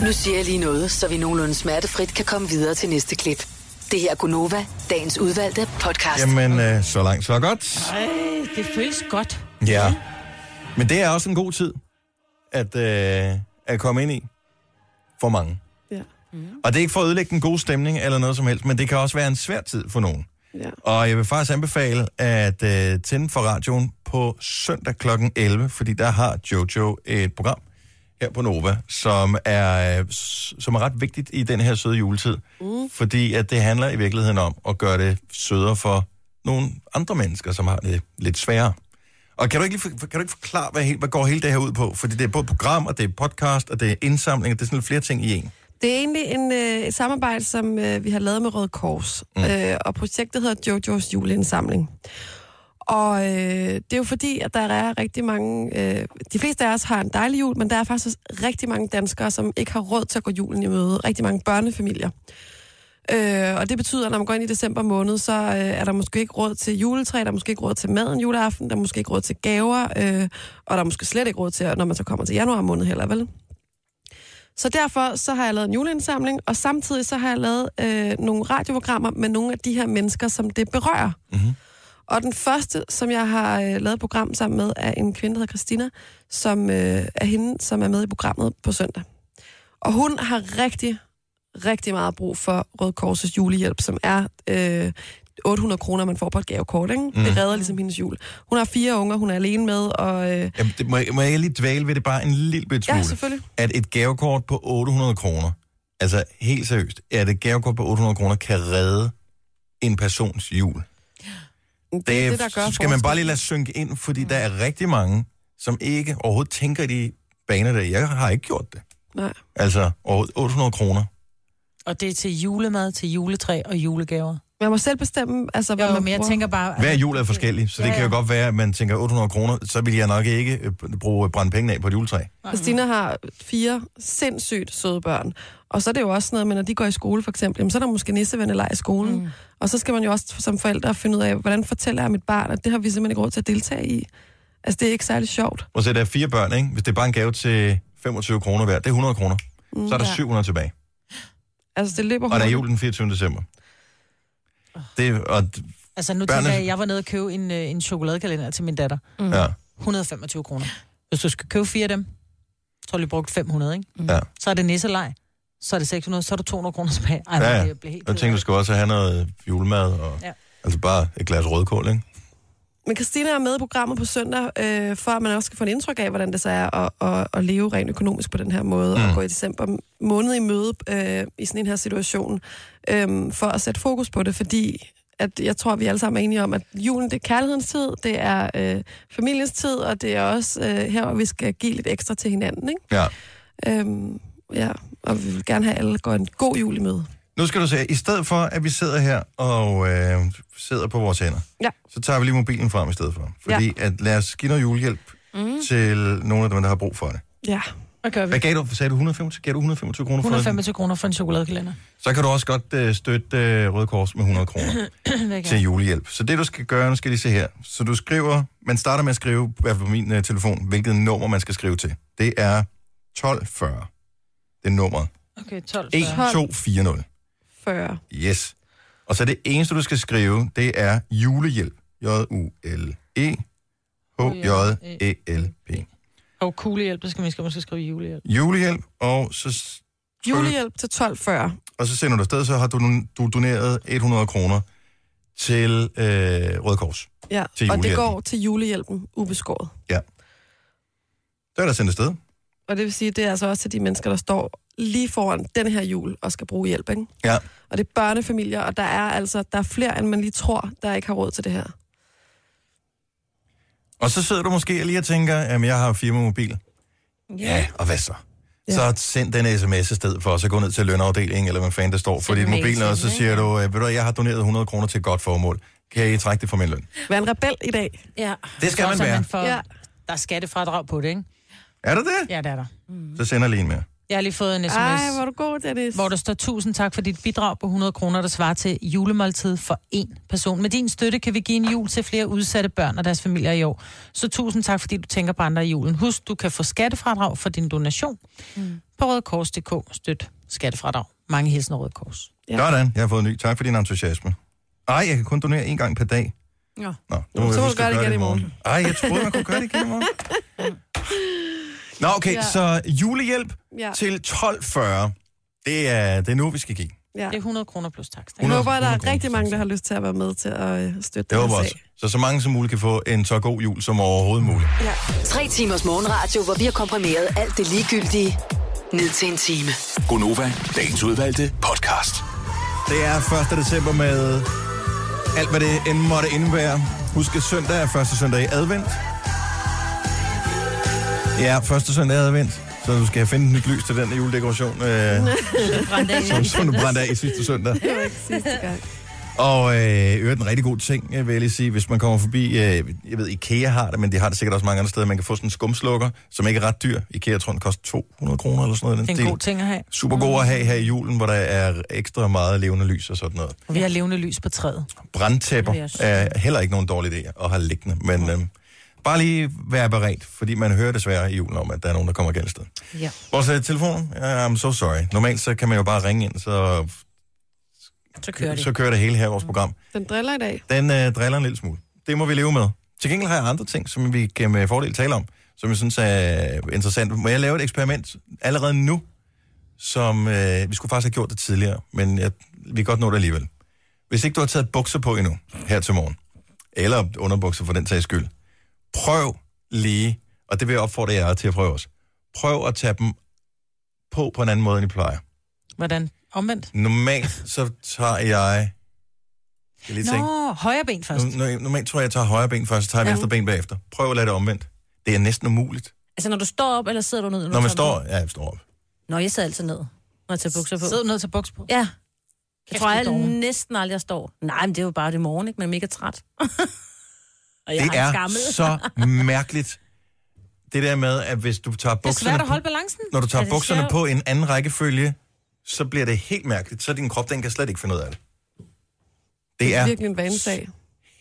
Speaker 6: Nu siger jeg lige noget, så vi nogenlunde smertefrit kan komme videre til næste klip. Det her er Gunova, dagens udvalgte podcast. Jamen.
Speaker 1: Jamen, øh, så langt, så godt.
Speaker 4: Det føles godt.
Speaker 1: Ja. Men det er også en god tid at, øh, at komme ind i for mange.
Speaker 2: Ja.
Speaker 1: Og det er ikke for at ødelægge den gode stemning eller noget som helst, men det kan også være en svær tid for nogen.
Speaker 2: Ja.
Speaker 1: Og jeg vil faktisk anbefale at øh, tænde for radioen på søndag kl. 11, fordi der har Jojo et program her på Nova, som er, øh, s- som er ret vigtigt i den her søde juletid. Mm. Fordi at det handler i virkeligheden om at gøre det sødere for nogle andre mennesker, som har det lidt sværere. Og kan du ikke, lige for, kan du ikke forklare, hvad, helt, hvad går hele det her ud på? Fordi det er både program, og det er podcast, og det er indsamling, og det er sådan lidt flere ting i en.
Speaker 2: Det er egentlig en, øh, et samarbejde, som øh, vi har lavet med Røde Kors. Mm. Øh, og projektet hedder Jojos juleindsamling. Og øh, det er jo fordi, at der er rigtig mange... Øh, de fleste af os har en dejlig jul, men der er faktisk også rigtig mange danskere, som ikke har råd til at gå julen i møde. Rigtig mange børnefamilier. Øh, og det betyder, at når man går ind i december måned, så øh, er der måske ikke råd til juletræ, der er måske ikke råd til maden juleaften, der er måske ikke råd til gaver, øh, og der er måske slet ikke råd til, når man så kommer til januar måned heller, vel? Så derfor så har jeg lavet en juleindsamling, og samtidig så har jeg lavet øh, nogle radioprogrammer med nogle af de her mennesker, som det berører.
Speaker 1: Mhm.
Speaker 2: Og den første, som jeg har øh, lavet et program sammen med, er en kvinde, der hedder Christina, som øh, er hende, som er med i programmet på søndag. Og hun har rigtig, rigtig meget brug for Røde Korsets julehjælp, som er øh, 800 kroner, man får på et gavekort. Ikke? Mm.
Speaker 1: Mhm.
Speaker 2: Det redder ligesom hendes jul. Hun har fire unger, hun er alene med, og... Øh,
Speaker 1: Jamen, det, må, jeg, må jeg lige dvæle ved det bare en lille bit smule?
Speaker 2: ja, selvfølgelig.
Speaker 1: at et gavekort på 800 kroner, altså helt seriøst, at et gavekort på 800 kroner kan redde en persons jul.
Speaker 2: Det,
Speaker 1: Det,
Speaker 2: er
Speaker 1: det skal man bare lige lade synke ind, fordi der er rigtig mange, som ikke overhovedet tænker i de baner der. Jeg har ikke gjort det.
Speaker 2: Nej.
Speaker 1: Altså, overhovedet 800 kroner.
Speaker 4: Og det er til julemad, til juletræ og julegaver.
Speaker 2: Man må selv bestemme, altså, hvad
Speaker 4: Jo,
Speaker 2: man
Speaker 4: men jeg
Speaker 2: bruger.
Speaker 4: tænker bare...
Speaker 1: Hver jul er forskellig, så det
Speaker 4: Ja,
Speaker 1: kan jo
Speaker 4: ja.
Speaker 1: godt være, at man tænker 800 kroner, så vil jeg nok ikke øh, bruge brænde penge af på et juletræ.
Speaker 2: Christina har fire sindssygt søde børn. Og så er det jo også sådan noget med, når de går i skole for eksempel, jamen, så er der måske nissevenneleg i skolen. Mm. Og så skal man jo også som forældre finde ud af, hvordan fortæller jeg mit barn, at det har vi simpelthen ikke råd til at deltage i. Altså, det er ikke særlig sjovt.
Speaker 1: Og så er der fire børn, ikke? Hvis det er bare en gave til 25 kroner hver, det er 100 kroner. Så er der 700 tilbage.
Speaker 2: Altså, det løber
Speaker 1: Og der er
Speaker 2: hurtigt.
Speaker 1: jul den 24. december. Det, og,
Speaker 4: Altså nu
Speaker 1: Børnene-
Speaker 4: tænker jeg, at jeg var nede og købe en, øh, en chokoladekalender til min datter.
Speaker 1: ja,
Speaker 4: 125 kroner. Hvis du skal købe fire af dem, så har du lige brugt 500, ikke?
Speaker 1: Ja.
Speaker 4: Så er det nisselej, så er det 600, så er du 200 kroner tilbage. Ej,
Speaker 1: Ja,
Speaker 4: ja,
Speaker 1: ja.
Speaker 4: ja. det bliver helt
Speaker 1: og tænkte, du skulle også have noget julemad, og, ja.
Speaker 4: Ja.
Speaker 1: altså bare et glas rødkål, ikke?
Speaker 2: Men Christina er med i programmet på søndag, øh, for at man også skal få en indtryk af, hvordan det så er at, at, at leve rent økonomisk på den her måde, mm. og gå i december måned i møde øh, i sådan en her situation, øh, for at sætte fokus på det, fordi at jeg tror, vi alle sammen er enige om, at julen det er kærlighedens tid, det er øh, familiens tid, og det er også øh, her, hvor vi skal give lidt ekstra til hinanden.
Speaker 1: Ja.
Speaker 2: Ikke? Øhm, ja, og vi vil gerne have, at alle går en god jul i møde.
Speaker 1: Nu skal du se, i stedet for, at vi sidder her og øh, sidder på vores hænder,
Speaker 2: Ja.
Speaker 1: så tager vi lige mobilen frem i stedet for. Fordi ja. at lad os give noget julehjælp mm. til nogle af dem, der har brug for det.
Speaker 2: Ja.
Speaker 4: Hvad gør vi?
Speaker 1: Hvad gav du? Sagde du 125? Gav du 125 kroner for det?
Speaker 4: 125 kroner for en chokoladekalender.
Speaker 1: Så kan du også godt øh, støtte øh, Røde Kors med 100 kroner til julehjælp. Så det, du skal gøre, nu skal jeg lige se her. Så du skriver, man starter med at skrive, i hvert fald på min øh, telefon, hvilket nummer man skal skrive til. Det er 1240. Det er nummeret.
Speaker 4: Okay, 12.
Speaker 1: E. 1240.
Speaker 2: 40.
Speaker 1: Yes. Og så det eneste, du skal skrive, det er julehjælp. J-U-L-E E H-J-E-L-P.
Speaker 4: Og kuglehjælp, det skal man skal måske skrive julehjælp.
Speaker 1: Julehjælp, og så, s-
Speaker 2: Julehjælp til 12.40.
Speaker 1: og så sender du afsted, så har du, don- du doneret 100 kroner til øh, Røde Kors.
Speaker 2: Ja,
Speaker 1: Til
Speaker 2: og det
Speaker 1: julehjælpen.
Speaker 2: går til julehjælpen ubeskåret.
Speaker 1: Det er der sendt afsted.
Speaker 2: Og det vil sige, det er altså også til de mennesker, der står lige foran den her jul og skal bruge hjælp, ikke?
Speaker 1: Ja.
Speaker 2: Og det er børnefamilier, og der er altså der er flere, end man lige tror, der ikke har råd til det her.
Speaker 1: Og så sidder du måske lige og tænker, at jeg har firma mobil. Ja, og hvad så?
Speaker 2: Ja.
Speaker 1: Så send den sms i stedet for, og så gå ned til lønafdelingen, eller hvad fanden der står for
Speaker 3: Send
Speaker 1: dit
Speaker 3: en mail
Speaker 1: mobil,
Speaker 3: til
Speaker 1: og
Speaker 3: den,
Speaker 1: så
Speaker 3: ikke?
Speaker 1: siger du, øh, ved du, hvad, jeg har doneret 100 kroner til et godt formål. Kan I trække det fra min løn?
Speaker 2: Vær en rebel i dag.
Speaker 3: Ja.
Speaker 1: Det skal man
Speaker 4: så
Speaker 1: være.
Speaker 4: Man får,
Speaker 2: Ja.
Speaker 4: ja. Der er skattefradrag på det, ikke?
Speaker 1: Er det det?
Speaker 4: Ja, det er der.
Speaker 1: Så sender jeg lige en mere.
Speaker 4: Jeg har lige fået en sms,
Speaker 2: Ej, hvor er du god, Dennis.
Speaker 4: hvor der står, tusind tak for dit bidrag på 100 kroner, der svarer til julemåltid for én person. Med din støtte kan vi give en jul til flere udsatte børn og deres familier i år. Så tusind tak, fordi du tænker på andre i julen. Husk, du kan få skattefradrag for din donation mm. på rødkors.dk. Støt skattefradrag. Mange hilsen Røde Kors.
Speaker 2: Ja.
Speaker 1: Sådan, jeg har fået en ny. Tak for din entusiasme. Ej, jeg kan kun donere en gang per dag.
Speaker 7: Nå.
Speaker 1: Nå,
Speaker 2: Så må
Speaker 1: jeg
Speaker 2: du
Speaker 1: huske
Speaker 2: gøre
Speaker 1: at
Speaker 2: det igen i
Speaker 1: Ej, jeg troede, man kunne gøre det igen i morgen. Nå, okay, ja.
Speaker 2: Ja.
Speaker 1: så julehjælp
Speaker 2: Ja,
Speaker 1: ja. til 1240. Det er, det er nu, vi skal give.
Speaker 2: ja.
Speaker 4: Det er 100 kroner plus takst.
Speaker 2: Jeg
Speaker 1: 100
Speaker 2: håber, at der er
Speaker 1: kroner.
Speaker 2: rigtig mange, der har lyst til at være med til at øh, støtte
Speaker 1: Det
Speaker 2: den
Speaker 1: håber
Speaker 2: her
Speaker 1: jeg også.
Speaker 2: sag.
Speaker 1: Så så mange som muligt kan få en så god jul som overhovedet muligt.
Speaker 6: Tre timers morgenradio, hvor vi har komprimeret alt det ligegyldige ned til en time.
Speaker 5: Gonova, dagens udvalgte podcast.
Speaker 1: Det er 1. december med alt, hvad det end måtte indebære. Husk, at søndag er første søndag i advent. Ja, første søndag i advent. Så du skal finde et nyt lys til den her juledekoration, øh, som, som du brændte af i sidste søndag.
Speaker 2: Det var ikke sidste gang.
Speaker 1: Og øh, i øvrigt en rigtig god ting, øh, vil jeg lige sige, hvis man kommer forbi, øh, jeg ved, Ikea har det, men de har det sikkert også mange andre steder, man kan få sådan en skumslukker, som ikke er ret dyr. Ikea, tror jeg, den koster 200 kroner eller sådan noget. i Den
Speaker 4: Det er en
Speaker 1: stil.
Speaker 4: god ting at have.
Speaker 1: Super god at have her i julen, hvor der er ekstra meget levende lys og sådan noget.
Speaker 4: Vi har levende lys på træet.
Speaker 1: brandtæpper
Speaker 3: Det vil jeg sige.
Speaker 1: er heller ikke nogen dårlig idé at have liggende, men øh, bare lige være beredt, fordi man hører desværre i julen om, at der er nogen, der kommer galt sted.
Speaker 3: Ja.
Speaker 1: Vores øh, telefon, uh, I'm so sorry. Normalt så kan man jo bare ringe ind, så,
Speaker 3: Så kører det. Mm.
Speaker 1: så kører det hele her i vores program.
Speaker 2: Den driller i dag.
Speaker 1: Den øh, driller en lille smule. Det må vi leve med. Til gengæld har jeg andre ting, som vi kan med fordel tale om, som jeg synes er interessant. Må jeg lave et eksperiment allerede nu, som øh, vi skulle faktisk have gjort det tidligere, men jeg, vi kan godt nå det alligevel. Hvis ikke du har taget bukser på endnu, her til morgen, eller underbukser for den sags skyld, prøv lige, og det vil jeg opfordre jer til at prøve også, prøv at tage dem på på en anden måde, end I plejer.
Speaker 4: Hvordan? Omvendt?
Speaker 1: Normalt så tager jeg... Jeg lige tænke,
Speaker 4: Nå, højre ben først.
Speaker 1: nu, nu, normalt tror jeg, jeg tager højre ben først, så tager jeg venstre ben bagefter. Prøv at lade det omvendt. Det er næsten umuligt.
Speaker 3: Altså, når du står op, eller sidder du ned?
Speaker 1: Når
Speaker 3: du
Speaker 1: man
Speaker 3: tager
Speaker 1: står... Ja, jeg står op.
Speaker 3: dem på? Nå, jeg sidder altid ned, når jeg tager bukser på.
Speaker 4: Sidder du nødt til buks på?
Speaker 3: Ja. Jeg
Speaker 4: Kæft,
Speaker 3: tror
Speaker 4: det er
Speaker 3: jeg
Speaker 4: dårligt.
Speaker 3: næsten aldrig, jeg står. Nej, men det er jo bare det morgen, ikke? Man er mega træt. og jeg
Speaker 1: det
Speaker 3: har
Speaker 1: er
Speaker 3: en skammel.
Speaker 1: så mærkeligt. Det der med, at hvis du tager
Speaker 4: Det er
Speaker 1: bukserne,
Speaker 4: svært at holde balancen.
Speaker 1: når du tager
Speaker 3: Ja, det er
Speaker 1: bukserne
Speaker 3: sjovt.
Speaker 1: på en anden rækkefølge, så bliver det helt mærkeligt. Så din krop, den kan slet ikke finde ud af det. Det er
Speaker 2: Virkelig en vanesag.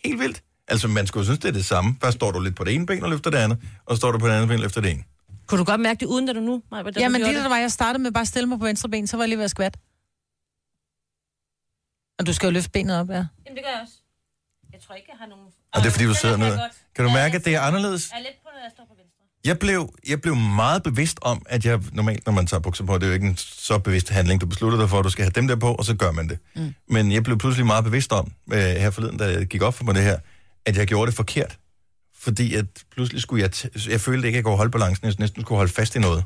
Speaker 1: helt vildt. Altså, man skulle synes, det er det samme. Først står du lidt på det ene ben og løfter det andet, og så står du på det andet ben og løfter det ene.
Speaker 3: Kunne du godt mærke det uden, da du nu? Maja, da du
Speaker 4: Jamen
Speaker 3: gjorde
Speaker 4: lige da der var, jeg startede med bare at stille mig på venstre ben, så var jeg lige ved at skvat. Og du skal jo løfte benet op, ja.
Speaker 3: Jamen, det gør jeg også. Jeg tror ikke, jeg har nogen...
Speaker 1: Og det er, fordi du
Speaker 3: Den
Speaker 1: sidder
Speaker 3: kan jeg
Speaker 1: ned.
Speaker 3: godt.
Speaker 1: Kan du
Speaker 3: Ja,
Speaker 1: mærke, at det er anderledes?
Speaker 3: Jeg er lidt på, når jeg står på venstre.
Speaker 1: Jeg blev, jeg blev meget bevidst om, at jeg normalt, når man tager bukser på, det er jo ikke en så bevidst handling. Du beslutter dig for, at du skal have dem der på, og så gør man det. Mm. Men jeg blev pludselig meget bevidst om, øh, her forleden, da jeg gik op for mig det her, at jeg gjorde det forkert. Fordi at pludselig skulle jeg... T- jeg følte ikke, at jeg kunne holde balancen. Jeg næsten skulle holde fast i noget.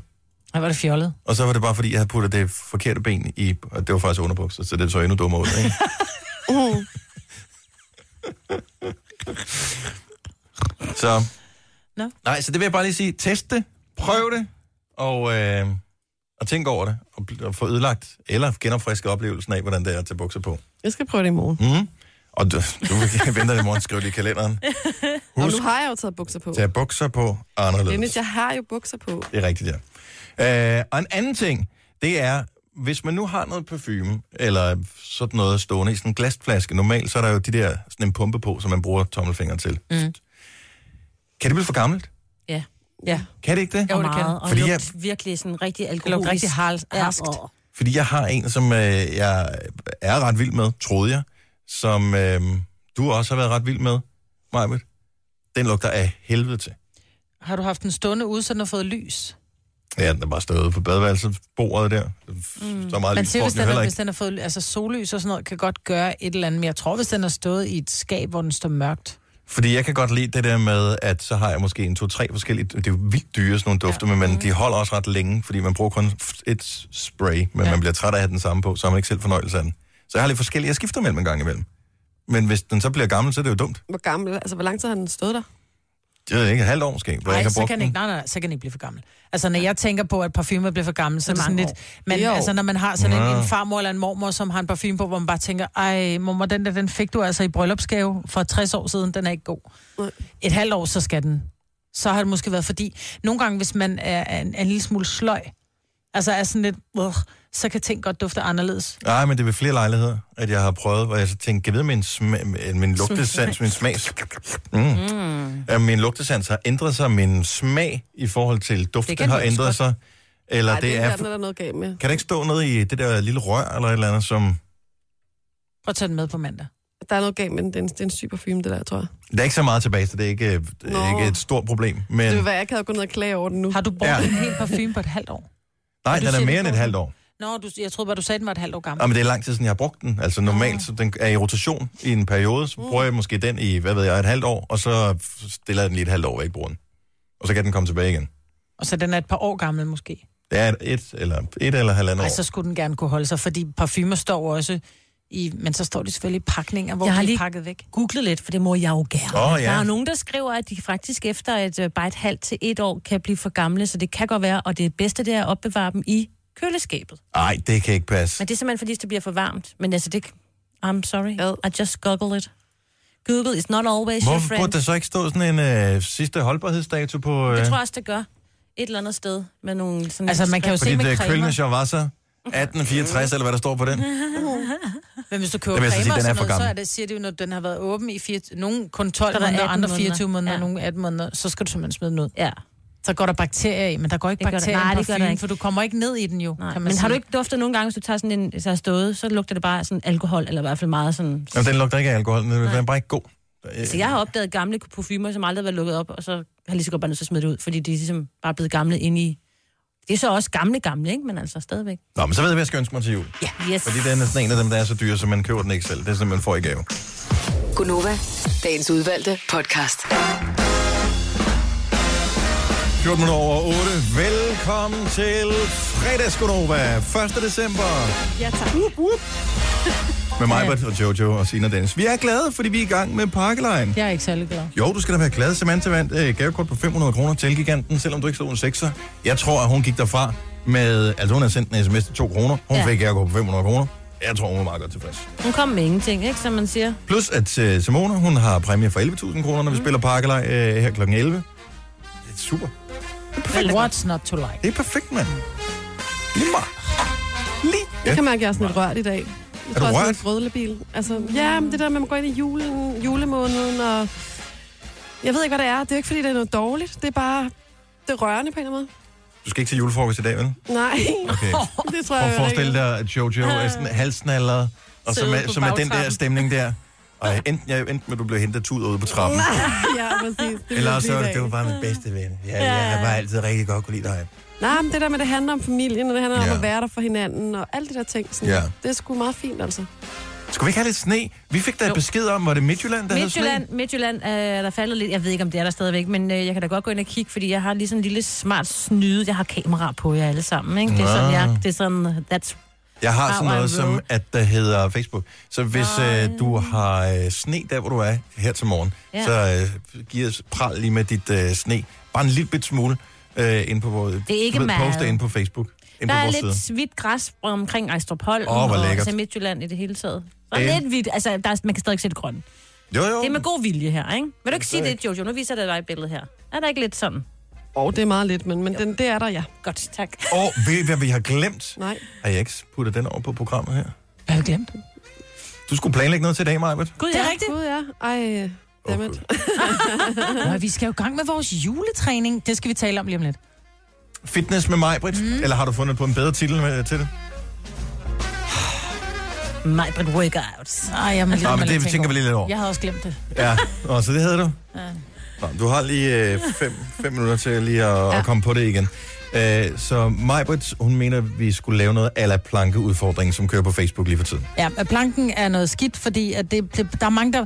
Speaker 4: Ej, var det fjollet.
Speaker 1: Og så var det bare, fordi jeg havde puttet det forkerte ben i... Og det var faktisk underbukser, så det så endnu dummere ud, ikke?
Speaker 2: Uh,
Speaker 1: Så...
Speaker 4: Nå.
Speaker 1: Nej, så det vil jeg bare lige sige. Test det, prøv det, og, øh, og tænk over det, og, bl- og få ødelagt eller genopfriske oplevelsen af, hvordan det er at tage bukser på.
Speaker 2: jeg skal prøve det i morgen.
Speaker 1: Mm. Og du, du venter i morgen, skriv det i kalenderen.
Speaker 2: Og
Speaker 1: Husk,
Speaker 2: nu har jeg jo taget bukser på.
Speaker 1: tage bukser på anderledes.
Speaker 2: Dennis, jeg har jo bukser på.
Speaker 1: Det er rigtigt, ja. Øh, og en anden ting, det er, hvis man nu har noget parfume, eller sådan noget stående i sådan en glasflaske, normalt så er der jo de der, sådan en pumpe på, som man bruger tommelfingeren til. Mm. Kan det blive for gammelt?
Speaker 3: Ja.
Speaker 4: Ja.
Speaker 1: Kan det ikke det?
Speaker 4: Jo, det
Speaker 3: Og
Speaker 4: kan.
Speaker 3: meget, og
Speaker 1: Fordi
Speaker 3: Fordi
Speaker 1: jeg-
Speaker 3: lugt jeg... virkelig sådan rigtig
Speaker 4: Det lå
Speaker 3: alkoholisk.
Speaker 4: rigtig har- harskt.
Speaker 3: Ja, Mm. og-
Speaker 1: Fordi jeg har en, som øh, jeg er ret vild med, troede jeg, som øh, du også har været ret vild med, Majbet. Den lugter af helvede til.
Speaker 4: Har du haft den stående ude, så den har fået lys?
Speaker 1: Ja, den er bare stået på badeværelsesbordet der. Mm. Så meget
Speaker 4: Man
Speaker 1: lys
Speaker 4: siger,
Speaker 1: får
Speaker 4: hvis
Speaker 1: den jo
Speaker 4: den,
Speaker 1: heller
Speaker 4: er,
Speaker 1: ikke.
Speaker 4: hvis den har fået altså, sollys og sådan noget, kan godt gøre et eller andet. Men jeg tror, hvis den har stået i et skab, hvor den står mørkt.
Speaker 1: Fordi jeg kan godt lide det der med, at så har jeg måske en, to, tre forskellige... Det er jo vildt dyre, sådan nogle dufte, ja. men de holder også ret længe, fordi man bruger kun et spray, men ja. man bliver træt af at have den samme på, så har man ikke selv fornøjelse af den. Så jeg har lidt forskellige... Jeg skifter mellem en gang imellem. Men hvis den så bliver gammel, så er det jo dumt.
Speaker 2: Hvor gammel, altså hvor lang tid har den stået der?
Speaker 1: Jeg ved ikke, et halvt år måske, hvor jeg
Speaker 4: Nej,
Speaker 1: ikke
Speaker 4: så
Speaker 1: har brugt
Speaker 4: kan den
Speaker 1: den.
Speaker 4: ikke, nej, nej, nej, så kan den ikke blive for gammel. Altså, når jeg tænker på, at parfume bliver for gammel, så er det sådan
Speaker 3: mange
Speaker 4: lidt... Man,
Speaker 2: Jo.
Speaker 4: altså, når man har sådan en,
Speaker 1: Nå.
Speaker 4: en farmor eller en mormor, som har en parfume på, hvor man bare tænker, ej, mormor, den der, den fik du altså i bryllupsgave for 60 år siden, den er ikke god.
Speaker 2: Nej.
Speaker 4: Et halvt år, så skal den. Så har det måske været, fordi nogle gange, hvis man er, er, en, er en lille smule sløj, altså er sådan lidt, uh, så kan ting godt dufte anderledes.
Speaker 1: Nej, men det er ved flere lejligheder, at jeg har prøvet, hvor jeg så tænkte, kan jeg vide, min, sma- øh, min lugtesans, min smag... Mm. Mm. At min lugtesans har ændret sig, min smag i forhold til duften
Speaker 3: kan
Speaker 1: har
Speaker 3: den jo
Speaker 1: ændret
Speaker 3: godt.
Speaker 1: sig. Eller
Speaker 2: Nej,
Speaker 1: det er...
Speaker 2: der er noget galt med.
Speaker 1: Kan det ikke stå nede i det der lille rør eller et eller andet, som...
Speaker 4: Prøv at tage den med på mandag.
Speaker 2: Der er noget galt med den. Dennis. Det er en syg parfume, det der, tror jeg.
Speaker 1: Der er ikke så meget tilbage, så det er ikke, øh, det
Speaker 2: Nå.
Speaker 1: er ikke et stort problem. Men
Speaker 2: Det vil være, jeg kan have gået ned og klage over den nu.
Speaker 4: Har du brugt
Speaker 1: Ja.
Speaker 4: ja. en hel parfume på et halvt år?
Speaker 1: nej,
Speaker 4: du
Speaker 1: den er
Speaker 4: siger,
Speaker 1: mere
Speaker 4: det
Speaker 1: end et
Speaker 4: går.
Speaker 1: halvt år.
Speaker 4: Nå, du, jeg troede bare, du sagde, den var et halvt år gammel.
Speaker 1: Ja, men det er lang tid siden, jeg har brugt den. Altså normalt, så den er i rotation i en periode, så bruger jeg måske den i, hvad ved jeg, et halvt år, og så stiller jeg den lige et halvt år, hvor jeg ikke bruger den. Og så kan den komme tilbage igen.
Speaker 4: Og så den er et par år gammel måske.
Speaker 1: Det er et, et eller, et eller halvandet
Speaker 4: Nej,
Speaker 1: år.
Speaker 4: så Altså, skulle den gerne kunne holde sig, fordi parfumer står jo også i... Men så står de selvfølgelig i pakninger, hvor
Speaker 3: Jeg har
Speaker 4: de er
Speaker 3: lige-
Speaker 4: pakket væk.
Speaker 3: Google lidt, for det må jeg jo gerne.
Speaker 1: Åh, ja.
Speaker 3: Der er nogen, der skriver, at de faktisk efter et, øh, bare et halvt til et år kan blive for gamle, så det kan godt være, og det bedste det er at opbevare dem i køleskabet.
Speaker 1: Nej, det kan ikke passe.
Speaker 3: Men det er simpelthen, fordi det bliver for varmt. Men altså, det... I'm sorry.
Speaker 2: Ad.
Speaker 3: I just googled it. Google is not always your
Speaker 1: Hvorfor
Speaker 3: friend.
Speaker 1: burde der så ikke stå sådan en øh, sidste holdbarhedsdato på... Øh,
Speaker 3: Det tror jeg også, det gør. Et eller andet sted med nogle sådan...
Speaker 4: Altså, man kan jo
Speaker 1: fordi
Speaker 4: se med
Speaker 1: det er
Speaker 4: cremer.
Speaker 1: Kølnischer var så 1864, eller hvad der står på den.
Speaker 4: Men hvis du køber
Speaker 1: Det vil jeg så
Speaker 4: cremer
Speaker 1: sige,
Speaker 4: og
Speaker 1: den er
Speaker 4: sådan
Speaker 1: for
Speaker 4: noget, så
Speaker 1: gammel.
Speaker 4: er det, siger de jo, når den har været åben i fire, nogen kun 12
Speaker 3: Så er der
Speaker 4: måneder,
Speaker 3: 18
Speaker 4: andre
Speaker 3: måneder.
Speaker 4: 24 måneder,
Speaker 3: Ja.
Speaker 4: nogle 18 måneder, så skal du simpelthen smide den ud.
Speaker 3: Ja.
Speaker 4: Så går der bakterier i, men der går ikke
Speaker 3: Det gør der-
Speaker 4: bakterier
Speaker 3: nej,
Speaker 4: i
Speaker 3: det gør der
Speaker 4: parfumen,
Speaker 3: ikke.
Speaker 4: for du kommer ikke ned i den jo,
Speaker 3: Nej,
Speaker 4: kan man
Speaker 3: men har
Speaker 4: sige.
Speaker 3: du ikke duftet nogle gange, hvis du tager sådan en, så har stået, så lugter det bare sådan alkohol, eller i hvert fald meget sådan...
Speaker 1: Jamen, den lugter ikke af alkohol, den er bare ikke god. Øh,
Speaker 3: Så jeg har opdaget gamle parfumer, som aldrig har været lukket op, og så har jeg lige så godt bare nødt til at smide det ud, fordi de er ligesom bare blevet gamle inde i... Det er så også gamle, gamle, ikke? Men altså stadigvæk.
Speaker 1: Nå, men så ved jeg, hvad jeg skal ønske mig til jul.
Speaker 3: Ja. Yes.
Speaker 1: Fordi den er sådan en af dem, der er så dyr, så man køber den ikke selv. Det er sådan, man får i gave.
Speaker 6: Gunova, dagens udvalgte podcast.
Speaker 1: 14 minutter over 8. Velkommen til fredagsgonova. 1. december.
Speaker 2: Ja, tak.
Speaker 1: Med mig, Britt og Jojo og Sina Dennis. Vi er glade, fordi vi er i gang med pakkelejen.
Speaker 4: Jeg er ikke særlig glad.
Speaker 1: Jo, du skal da være glad. Samantha vandt øh, gavekort på 500 kroner til giganten, selvom du ikke slog en sekser. Jeg tror, at hun gik derfra med... Altså, hun havde sendt en sms til 2 kroner. Hun ja.
Speaker 3: Ja.
Speaker 1: fik gavekort på 500 kroner. Jeg tror, hun var meget godt tilfreds.
Speaker 3: Hun kom med ingenting, ikke? Som man siger.
Speaker 1: Plus at øh, Simone, hun har præmie for 11.000 kroner, når vi mm. spiller parkelej øh, her kl. 11. Det er super.
Speaker 4: Well, what's not to like?
Speaker 1: Det er perfekt, mand. Lige meget. Lige.
Speaker 2: Jeg
Speaker 1: Ja.
Speaker 2: kan mærke, at jeg er sådan lidt rørt i dag. Jeg
Speaker 1: Er
Speaker 2: tror
Speaker 1: du
Speaker 2: også,
Speaker 1: rørt?
Speaker 2: en grødlebil. Altså, ja, men det der med, at man går ind i julen, julemåneden, og... Jeg ved ikke, hvad det er. Det er jo ikke, fordi det er noget dårligt. Det er bare... Det er rørende på en eller anden
Speaker 1: Du skal ikke til julefrokost i dag, vel?
Speaker 2: måde. Nej,
Speaker 1: Okay.
Speaker 2: det
Speaker 1: Prøv
Speaker 2: tror jeg
Speaker 1: at
Speaker 2: jo
Speaker 1: forestille dig, at Jojo er sådan halsnallet, og så
Speaker 4: Sidder
Speaker 1: med,
Speaker 4: på
Speaker 1: så med den der
Speaker 4: bagtrappen.
Speaker 1: stemning der. Og enten, ja, enten vil du blive hentet tud ude på trappen,
Speaker 2: Ja, præcis. Det
Speaker 1: eller
Speaker 2: vil
Speaker 1: så
Speaker 2: blive
Speaker 1: er
Speaker 2: i
Speaker 1: det, det var
Speaker 2: dag.
Speaker 1: bare min bedste ven. Ja, jeg har bare altid rigtig godt kunne lide dig.
Speaker 2: Nej, men det der med, det handler om familien, og det handler
Speaker 1: Ja.
Speaker 2: om at være der for hinanden, og alle de der ting. Sådan,
Speaker 1: Ja.
Speaker 2: Det er sgu meget fint, altså.
Speaker 1: Skulle vi ikke have lidt sne? Vi fik da et
Speaker 3: Jo.
Speaker 1: besked om, var det Midtjylland, der havde
Speaker 3: Midtjylland, Midtjylland øh, er der faldet lidt. Jeg ved ikke, om det er der stadigvæk, men øh, jeg kan da godt gå ind og kigge, fordi jeg har lige sådan en lille smart snyde. Jeg har kamera på jer alle sammen, ikke? Det er sådan,
Speaker 1: Nå.
Speaker 3: jeg, det er sådan, that's...
Speaker 1: sne? Jeg har
Speaker 3: How
Speaker 1: sådan
Speaker 3: I
Speaker 1: noget, som
Speaker 3: roll.
Speaker 1: at der hedder Facebook. Så hvis øh, du har øh, sne der, hvor du er her til morgen,
Speaker 3: Ja.
Speaker 1: så øh, giv os pral lige med dit øh, sne. Bare en lille bit smule øh, ind på vores...
Speaker 3: Det er ikke
Speaker 1: du ved,
Speaker 3: meget.
Speaker 1: Poste ind på Facebook. Ind
Speaker 3: Der
Speaker 1: på
Speaker 3: er
Speaker 1: vores
Speaker 3: lidt
Speaker 1: side.
Speaker 3: hvidt græs omkring Ejstrup Holm
Speaker 1: Åh, hvor
Speaker 3: og
Speaker 1: lækkert.
Speaker 3: så Midtjylland i det hele taget. Der
Speaker 1: Ja.
Speaker 3: er lidt hvidt, altså der er, man kan stadig se det grønne.
Speaker 1: Jo, jo.
Speaker 3: Det er med god vilje her, ikke? Vil du ikke sige
Speaker 1: er
Speaker 3: det, Jojo? Nu viser jeg dig et billede her. Er der ikke lidt sådan?
Speaker 2: Og det er meget lidt, men, men den, det er der, ja.
Speaker 3: Godt, tak.
Speaker 1: Og ved I, hvad vi har glemt?
Speaker 2: Nej.
Speaker 1: Har jeg ikke puttet den over på programmet her?
Speaker 4: Jeg har glemt det.
Speaker 1: Du skulle planlægge noget til i dag, Majbert.
Speaker 3: Gud,
Speaker 4: Det er rigtigt.
Speaker 2: Gud, ja. Ej, dammit.
Speaker 1: Okay.
Speaker 4: Nå, vi skal jo i gang med vores juletræning. Det skal vi tale om lige om lidt.
Speaker 1: Fitness med Majbert? Mm. Eller har du fundet på en bedre titel med, til det?
Speaker 3: Majbrit Workouts.
Speaker 4: Ej, jeg må lige,
Speaker 1: Nej, Ah, men
Speaker 4: må lige
Speaker 1: det
Speaker 4: tænke
Speaker 1: tænker vi lige lidt over.
Speaker 4: over. Jeg havde også glemt det.
Speaker 1: Ja. Nå, så det hedder du? Nå, du har lige 5 fem minutter til lige at, ja. at komme på det igen. Øh, så Majbert, hun mener, at vi skulle lave noget ala plankeudfordring, som kører på Facebook lige for tiden.
Speaker 4: Ja, men planken er noget skidt, fordi at det, det, der, er mange, der,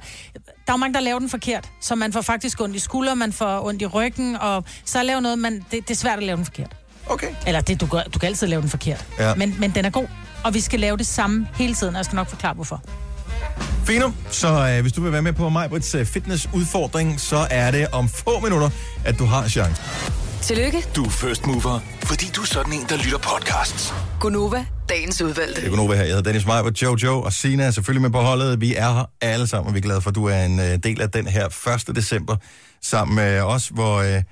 Speaker 4: der er mange, der laver den forkert. Så man får faktisk ondt i skuldre, man får ondt i ryggen, og så laver noget, man, det, det er svært at lave den forkert.
Speaker 1: Okay.
Speaker 4: Eller det, du, gør, du kan altid lave den forkert.
Speaker 1: Ja.
Speaker 4: Men, men den er god, og vi skal lave det samme hele tiden, og jeg skal nok forklare, hvorfor.
Speaker 1: Fino, så øh, hvis du vil være med på Majbrits øh, fitnessudfordring, så er det om få minutter, at du har chancen.
Speaker 6: Tillykke,
Speaker 5: Du er first mover, fordi du er sådan en, der lytter podcasts.
Speaker 6: Gunova, dagens udvalgte.
Speaker 1: Det er Gunova her. Jeg hedder Dennis Meiber, Jojo og Sina er selvfølgelig med på holdet. Vi er her alle sammen, og vi er glade for, at du er en øh, del af den her 1. december sammen med os, hvor øh,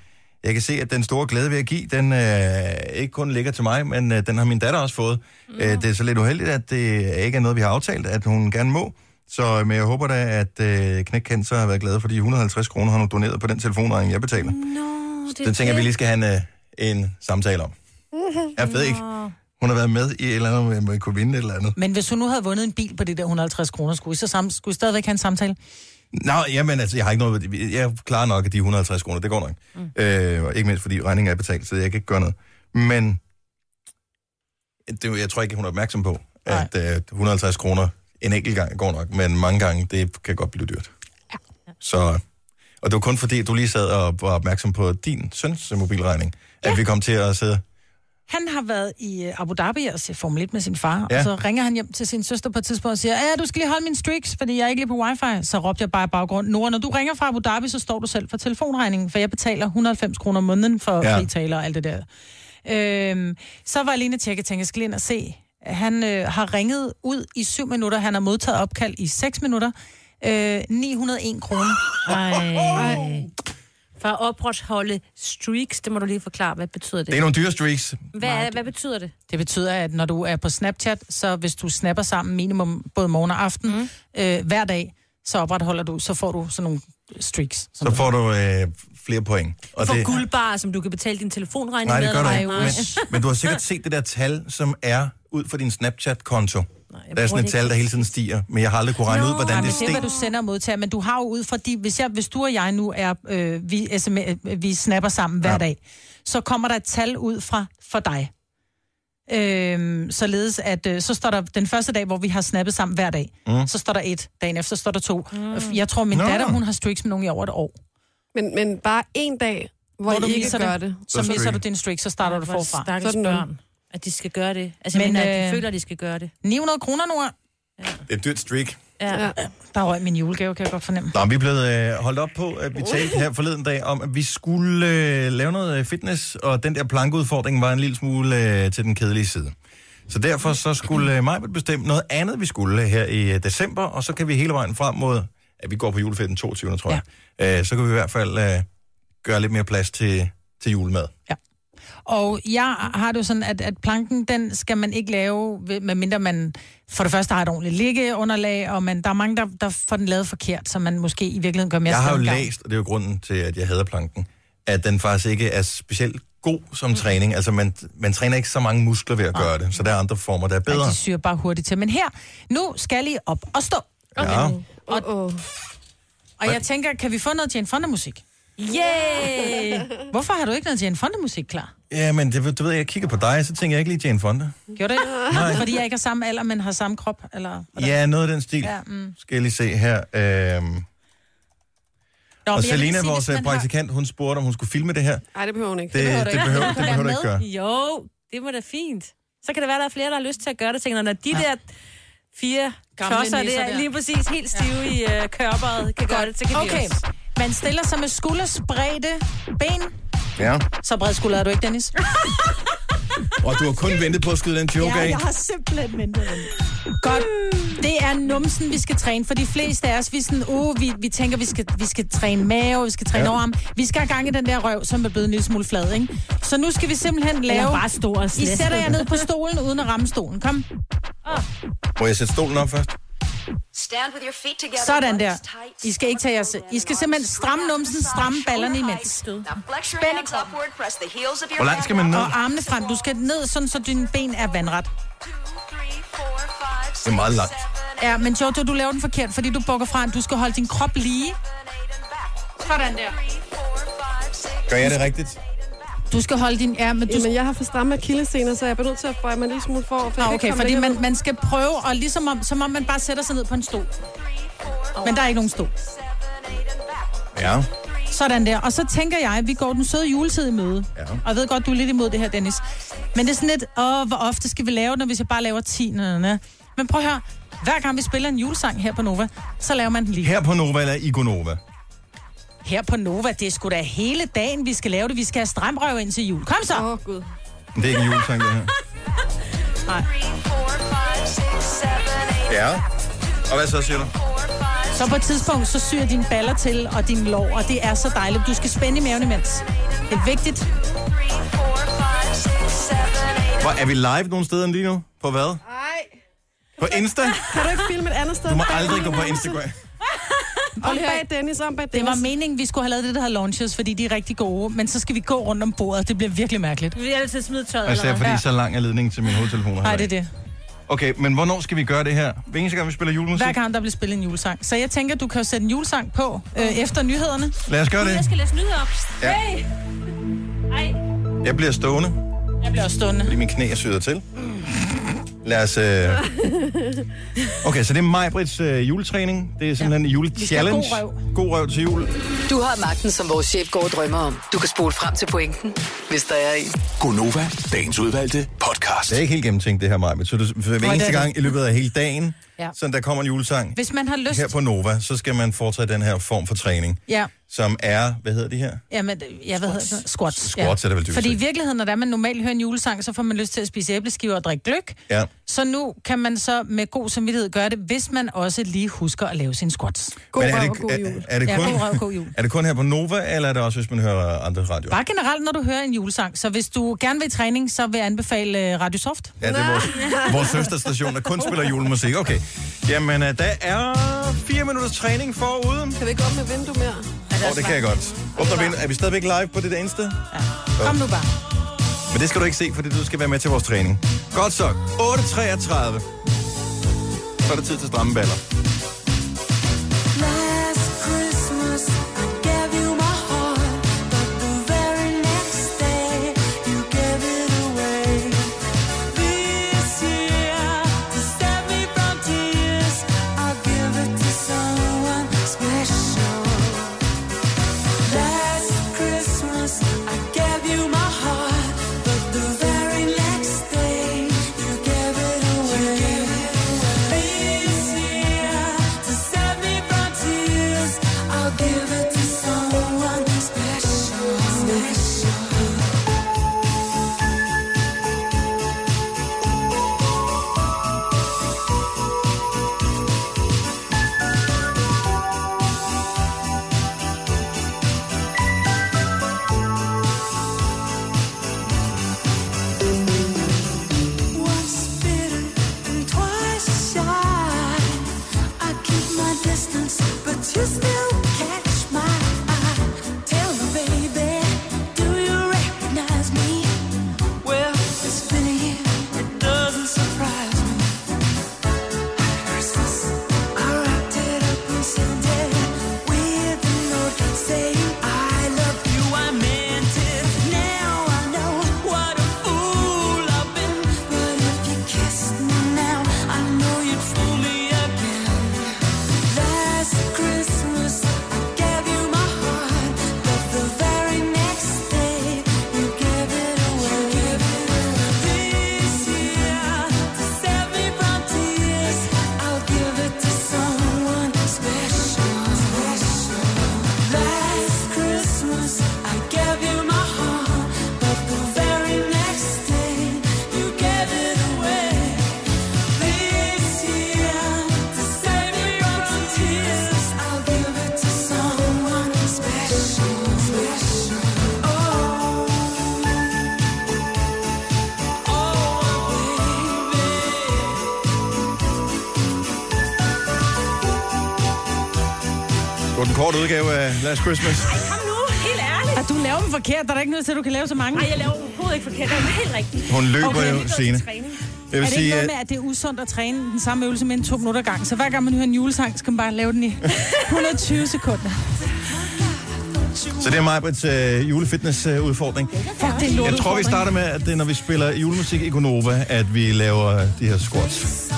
Speaker 1: jeg kan se, at den store glæde ved at give, den øh, ikke kun ligger til mig, men øh, den har min datter også fået. Mm. Øh, det er så lidt uheldigt, at det ikke er noget, vi har aftalt, at hun gerne må. Så øh, men jeg håber da, at øh, Knæk Cancer har været glad for de 150 kroner, han har doneret på den telefonregning, jeg betaler.
Speaker 3: Nå, det
Speaker 1: Den tænker vi lige skal have en, øh, en samtale om. Jeg ved ikke. Hun har været med i et eller andet, hvor man kunne vinde et eller andet.
Speaker 4: Men hvis hun nu havde vundet en bil på det der 150 kroner, skulle I, så sammen, skulle I stadigvæk have en samtale?
Speaker 1: Nå, jamen altså, jeg har ikke noget... Jeg klarer nok, at de 150 kroner, det går nok. Mm. Øh, og ikke mindst, fordi regningen er betalt, så jeg kan ikke gøre noget. Men det, er jo- jeg tror ikke, hun er opmærksom på,
Speaker 4: Nej.
Speaker 1: at øh, 150 kroner en enkelt gang går nok, men mange gange, det kan godt blive dyrt. Ja. Så, og det var kun fordi, du lige sad og var opmærksom på din søns mobilregning, ja. at vi kom til at sidde...
Speaker 4: Han har været i øh, Abu Dhabi og se Formel 1 med sin far,
Speaker 1: Ja.
Speaker 4: ja. og så ringer han hjem til sin søster på et tidspunkt og siger, ja, du skal lige holde min streaks, fordi jeg er ikke lige på wifi. Så råbte jeg bare i baggrunden, Nora, når du ringer fra Abu Dhabi, så står du selv for telefonregningen, for jeg betaler 190 kroner om måneden for
Speaker 1: Ja.
Speaker 4: ja. fritaler og alt det der. Øhm, så var jeg lige inde og tjekke, jeg tænkte, jeg skal lige ind og se. Han øh, har ringet ud i syv minutter, han har modtaget opkald i 6 minutter, øh, 901 kroner.
Speaker 3: Ej. For at opretholde streaks, det må du lige forklare, hvad betyder
Speaker 1: Det er
Speaker 3: det?
Speaker 1: nogle dyre streaks.
Speaker 3: Hvad, er, hvad betyder det?
Speaker 4: Det betyder, at når du er på Snapchat, så hvis du snapper sammen minimum både morgen og aften mm. øh, hver dag, så opretholder du, så får du sådan nogle streaks. Som
Speaker 1: Så får du øh, flere point. Og
Speaker 3: For guldbarer, som du kan betale din telefonregning
Speaker 1: Nej,
Speaker 3: med?
Speaker 1: det gør du
Speaker 3: eller
Speaker 1: ikke.
Speaker 3: hvad?
Speaker 1: Men, men du har sikkert set det der tal, som er ud fra din Snapchat-konto.
Speaker 3: jeg
Speaker 1: Der er
Speaker 3: bruger
Speaker 1: sådan et
Speaker 3: det
Speaker 1: tal,
Speaker 3: ikke.
Speaker 1: der hele tiden stiger, men jeg har aldrig kunne regne
Speaker 3: Nå,
Speaker 1: ud, hvordan det
Speaker 4: Nej, men det er,
Speaker 1: steg.
Speaker 4: hvad du sender og modtager, men du har jo ud fra de... Hvis, jeg, hvis du og jeg nu er, øh, vi, SM, øh, vi snapper sammen hver
Speaker 1: Ja.
Speaker 4: ja. dag, så kommer der et tal ud fra for dig. Øhm, således at øh, så står der den første dag, hvor vi har snappet sammen hver dag, mm. så står der et, dagen efter står der to. Mm. Jeg tror, min
Speaker 1: Nå.
Speaker 4: Nå. datter, hun har streaks med nogen i over et år.
Speaker 2: Men, men bare en dag, hvor,
Speaker 4: Hvor du
Speaker 2: I ikke
Speaker 4: misser
Speaker 2: gør
Speaker 4: det.
Speaker 2: det.
Speaker 1: Så
Speaker 4: Så misser
Speaker 1: streak.
Speaker 4: du din streak, så starter du
Speaker 3: Hvor
Speaker 4: forfra.
Speaker 3: stakkels
Speaker 2: Sådan.
Speaker 3: børn, at de skal gøre det. Altså,
Speaker 4: Men,
Speaker 3: men, men at de
Speaker 4: øh,
Speaker 3: føler, at de skal gøre det.
Speaker 4: 900 kroner nu.
Speaker 1: Det er et dyrt streak.
Speaker 3: Ja.
Speaker 2: Ja.
Speaker 4: Der røg min julegave, kan jeg godt fornemme.
Speaker 1: Nå, men vi er blevet øh, holdt op på, at
Speaker 3: Oh.
Speaker 1: vi talte her forleden dag om, at vi skulle øh, lave noget øh, fitness, og den der plankeudfordring var en lille smule øh, til den kedelige side. Så derfor så skulle øh, mig bestemme noget andet, vi skulle her i øh, december, og så kan vi hele vejen frem mod, at vi går på juleferien den 22. tror jeg, ja. øh, så kan vi i hvert fald øh, gøre lidt mere plads til, til julemad.
Speaker 4: Og jeg har det jo sådan, at, at planken, den skal man ikke lave, ved- medmindre man for det første har et ordentligt liggeunderlag, og man, der er mange, der, der får den lavet forkert, så man måske i virkeligheden gør mere
Speaker 1: Jeg har jo
Speaker 4: skade end gavn.
Speaker 1: læst, og det er jo grunden til, at jeg hader planken, at den faktisk ikke er specielt god som mm. træning. Altså, man, man træner ikke så mange muskler ved at gøre det, så der er andre former, der er
Speaker 4: Ej,
Speaker 1: bedre.
Speaker 4: de syr bare hurtigt til. Men her, nu skal I op og stå.
Speaker 1: Ja.
Speaker 2: Oh, oh.
Speaker 4: Og jeg tænker, kan vi få noget Jane Fonda-musik? Yay! Hvorfor har du ikke noget Jane Fonda-musik klar?
Speaker 1: ja, men det, ved- du ved, jeg kigger på dig, så tænker jeg ikke lige Jane Fonda.
Speaker 4: Gjorde det? Nej. Fordi jeg ikke har samme alder, men har samme krop? Eller hvordan?
Speaker 1: Ja, noget af den stil.
Speaker 4: Ja,
Speaker 1: Ja,
Speaker 4: mm.
Speaker 1: mm. Skal jeg lige se her. Øhm,
Speaker 4: Nå,
Speaker 1: og
Speaker 4: men jeg vil
Speaker 1: Selina,
Speaker 4: sige,
Speaker 1: vores
Speaker 4: hvis
Speaker 1: øh,
Speaker 4: man har-
Speaker 1: praktikant, hun spurgte, om hun skulle filme det her.
Speaker 2: Ej, det behøver hun ikke.
Speaker 1: Det, det behøver, det behøver, det behøver du ikke gøre.
Speaker 3: Jo, det må da fint. Så kan det være, der er flere, der har lyst til at gøre det. Tænker, når de der fire
Speaker 4: Gamle
Speaker 3: tosser der,
Speaker 4: nisser der.
Speaker 3: lige præcis helt stive i uh, kørberet, kan gøre det, så kan
Speaker 4: Okay,
Speaker 3: de også.
Speaker 4: man stiller sig med skulderspredte ben.
Speaker 1: Ja.
Speaker 4: Så bred skulder er du ikke, Dennis?
Speaker 1: Og du har kun ventet på at skyde den joke af.
Speaker 4: simpelthen ventet Godt. Det er numsen, vi skal træne, for de fleste af os, vi, er sådan, uh, vi, vi tænker, vi skal, vi skal træne mave, vi skal træne ja.
Speaker 1: Ja.
Speaker 4: overarm. Vi skal have gang i den der røv, som er blevet en lille smule flad, ikke? Så nu skal vi simpelthen lave...
Speaker 3: Eller bare stor og
Speaker 4: I
Speaker 3: slæsket.
Speaker 4: sætter jer ned på stolen, uden at ramme stolen. Kom.
Speaker 1: Må jeg sætte stolen op først?
Speaker 4: Sådan der. I skal ikke tage jeres... I skal simpelthen stramme numsen, stramme ballerne imens.
Speaker 8: Bend it upward, press the heels of your
Speaker 1: Hvor langt skal man ned?
Speaker 4: Og armene frem. Du skal ned, sådan, så dine ben er vandret.
Speaker 1: Det er meget langt.
Speaker 4: Ja, men Jojo, du laver den forkert, fordi du bukker fra. Du skal holde din krop lige. Sådan der.
Speaker 1: Gør jeg det rigtigt?
Speaker 4: Du skal holde din... Ja, men du
Speaker 2: Jamen, jeg har for stramme akillescener, så jeg bliver nødt til at bøje mig en lille smule for. for jeg
Speaker 4: Nå,
Speaker 2: kan
Speaker 4: Ah, okay,
Speaker 2: ikke komme
Speaker 4: fordi
Speaker 2: derned.
Speaker 4: man, man skal prøve, og ligesom om, som om man bare sætter sig ned på en stol. Men der er ikke nogen stol.
Speaker 1: Ja.
Speaker 4: Sådan der. Og så tænker jeg, vi går den søde juletid i møde.
Speaker 1: Ja.
Speaker 4: Og jeg ved godt, du er lidt imod det her, Dennis. Men det er sådan lidt, åh, hvor ofte skal vi lave den, hvis jeg bare laver 10? Næ, næ, næ. Men prøv at høre, hver gang vi spiller en julesang her på Nova, så laver man den lige.
Speaker 1: Her på Nova eller i Gonova?
Speaker 4: Her på Nova, det er sgu da hele dagen, vi skal lave det. Vi skal have stramrøv ind til jul. Kom så!
Speaker 2: Åh, oh, Gud.
Speaker 1: Det er ikke en julesang, det her. Ja. Og hvad så, siger du?
Speaker 4: Så på et tidspunkt, så syr dine baller til og din lår, og det er så dejligt. Du skal spænde i maven imens. Det er vigtigt.
Speaker 1: Hvor, er vi live nogle steder lige nu? På hvad? Nej. På Insta?
Speaker 2: Kan du ikke filme et andet sted?
Speaker 1: Du må aldrig gå på Instagram.
Speaker 2: Om bag Dennis, om bag Dennis.
Speaker 4: Det var meningen, vi skulle have lavet det, der hedder launches, fordi de er rigtig gode. Men så skal vi gå rundt om bordet. Det bliver virkelig mærkeligt.
Speaker 3: Vi er altid smide tøjet,
Speaker 1: Altså,
Speaker 3: eller
Speaker 1: fordi
Speaker 3: hvad?
Speaker 1: så lang er ledningen til mine hovedtelefoner.
Speaker 4: Nej,
Speaker 1: heller
Speaker 4: det er det.
Speaker 1: ikke. Okay, men hvornår skal vi gøre det her? Hver eneste gang, vi spiller julemusik?
Speaker 4: Hver gang, der bliver spillet en julesang. Så jeg tænker, du kan jo sætte en julesang på øh, efter nyhederne.
Speaker 1: Lad os gøre det.
Speaker 3: Jeg skal læse nyheder op.
Speaker 1: Ja.
Speaker 3: Hey! Ej,
Speaker 1: Jeg bliver stående,
Speaker 4: Jeg bliver også stående.
Speaker 1: fordi min knæ er syret til. Lad os... Øh... Okay, så det er Majbrits øh, juletræning. Det er simpelthen ja. en julechallenge.
Speaker 4: skal have god
Speaker 1: god røv til jul.
Speaker 6: Du har magten, som vores chef går og drømmer om. Du kan spole frem til pointen, hvis der er en.
Speaker 5: Gonova, dagens udvalgte podcast.
Speaker 1: Det er ikke helt gennemtænkt, det her, Maja. Så du, for hver
Speaker 4: er
Speaker 1: eneste
Speaker 4: det.
Speaker 1: gang i løbet af hele dagen,
Speaker 4: Ja.
Speaker 1: ja. så der kommer en julesang
Speaker 4: Hvis man har lyst...
Speaker 1: her på Nova, så skal man foretage den her form for træning,
Speaker 4: Ja, øh,
Speaker 1: som er, hvad hedder de her?
Speaker 4: jamen, jeg ved, squats. squats.
Speaker 1: Squats er det vel dybest
Speaker 4: Fordi i
Speaker 1: set.
Speaker 4: virkeligheden, når det er, man normalt hører en julesang, så får man lyst til at spise æbleskiver og drikke gløk.
Speaker 1: Ja.
Speaker 4: Så nu kan man så med god samvittighed gøre det, hvis man også lige husker at lave sin squats.
Speaker 2: God
Speaker 1: er
Speaker 2: røv og
Speaker 1: det,
Speaker 2: god jul.
Speaker 1: er, er, det
Speaker 4: Ja,
Speaker 1: kun,
Speaker 4: god røv, god jul.
Speaker 1: er det kun her på Nova, eller er det også, hvis man hører andre radioer?
Speaker 4: Bare generelt, når du hører en julesang. Så hvis du gerne vil i træning, så vil jeg anbefale øh, Radio Soft.
Speaker 1: Ja, det er vores, vores søsterstation, der kun spiller julemusik. Okay. Jamen, øh, der er fire minutters træning forude.
Speaker 2: Kan vi ikke åbne vinduet mere?
Speaker 1: Åh, oh, det kan jeg godt. Åbner vi ind. Er vi stadigvæk live på det der Insta?
Speaker 4: Kom nu bare.
Speaker 1: Men det skal du ikke se, fordi du skal være med til vores træning. Godt så. 8.33. Så er det tid til stramme baller.
Speaker 9: Last Christmas, I gave you my heart, but the very next day you gave it away. This year, to save me from tears, I'll give it to someone special. Last Christmas, I gave you my heart, but the very next day you gave it away. This year, you still catch my eye? Tell me, baby, do you recognize me? Well, it's been a year, it doesn't surprise me. Christmas, I wrapped it up and sent it with a note saying I love you. I meant it. Now I know what a fool I've been. But if you kissed me now, I know you'd fool me again. Last Christmas, I gave you my heart, but the very next day you gave it away. This year to save me from tears, I'll give it to someone special. Last Christmas, I gave you my heart, but the very next day you gave it away. This year, to save me from tears, I'll give it to someone special, special. Oh,
Speaker 1: Det var den korte udgave af Last Christmas.
Speaker 3: Kom nu, helt ærligt.
Speaker 4: At du laver dem forkert, der er ikke noget til, at du kan lave så mange.
Speaker 3: Nej, jeg laver overhovedet ikke forkert. Det er helt rigtigt.
Speaker 1: Hun løber
Speaker 3: Okay,
Speaker 1: jo,
Speaker 3: vi går til
Speaker 1: Signe.
Speaker 3: træning.
Speaker 1: Jeg vil
Speaker 4: Er det ikke
Speaker 1: sige, øh,
Speaker 4: noget
Speaker 1: at
Speaker 4: med, at det er usundt at træne den samme øvelse med en to minutter gang? Så hver gang man hører en julesang, skal man bare lave den i 120 sekunder.
Speaker 1: så det er mig på et øh, julefitness-udfordring.
Speaker 4: Fuck, det er lort.
Speaker 1: Jeg tror, vi starter med, at det er, når vi spiller julemusik i Gonova, at vi laver øh, de her squats.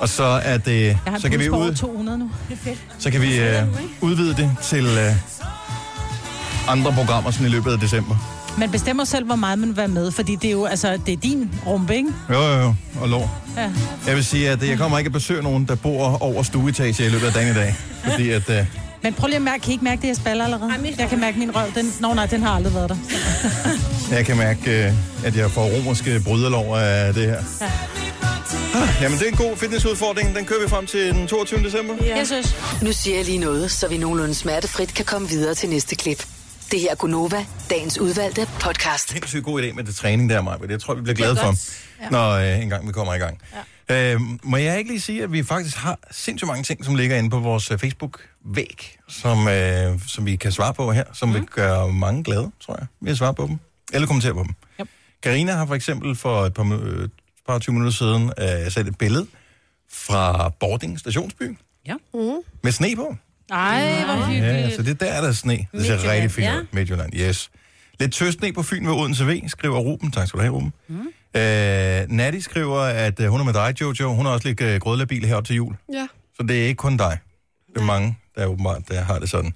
Speaker 1: Og så, er det,
Speaker 4: Jeg har
Speaker 1: så kan vi
Speaker 4: ud...
Speaker 1: ud,
Speaker 4: 200 nu.
Speaker 1: så kan vi øh, udvide det til øh, andre programmer sådan i løbet af december.
Speaker 4: Man bestemmer selv, hvor meget man vil være med, fordi det er jo, altså, det er din rumpe, ikke?
Speaker 1: Jo, jo, jo. Og lov.
Speaker 4: Ja.
Speaker 1: Jeg vil sige, at jeg kommer ikke at besøge nogen, der bor over stueetage i løbet af dagen i dag. Fordi at, øh,
Speaker 4: Men prøv lige at mærke, kan I ikke mærke det, jeg spiller allerede? Jeg kan mærke min røv. Den... Nå nej, den har aldrig været der.
Speaker 1: jeg kan mærke, øh, at jeg får romerske bryderlov af det her. Ah, jamen, det er en god fitnessudfordring. Den kører vi frem til den 22. december.
Speaker 4: Jeg synes,
Speaker 6: Nu siger jeg lige noget, så vi nogenlunde smertefrit kan komme videre til næste klip. Det her er Gunova, dagens udvalgte podcast.
Speaker 1: sindssygt god idé med det træning der, Maja. Jeg tror, vi bliver glade for, ja. når øh, en gang vi kommer i gang. Ja. Øh, må jeg ikke lige sige, at vi faktisk har sindssygt mange ting, som ligger inde på vores øh, Facebook-væg, som, øh, som vi kan svare på her, som mm. vil gøre mange glade, tror jeg, ved at svare på dem. Eller kommentere på dem.
Speaker 4: Yep.
Speaker 1: Karina har for eksempel for et par, mi- øh, et par 20 minutter siden øh, sat et billede fra Bording stationsby.
Speaker 3: Ja.
Speaker 1: Mm. Med sne på.
Speaker 4: ej, hvor hyggeligt.
Speaker 1: Ja, så det er der er der sne. Det ser
Speaker 3: Midtjylland,
Speaker 1: rigtig fint ud.
Speaker 3: ja.
Speaker 1: Midtjylland, yes. Lidt tøsne på Fyn ved Odense V, skriver Ruben. Tak skal du have, Ruben. Mm. Øh, Natty skriver, at øh, hun er med dig, Jojo. Hun er også lidt øh, grødlabil herop til jul.
Speaker 2: Ja.
Speaker 1: Så det er ikke kun dig. Det er mange, der åbenbart der har det sådan.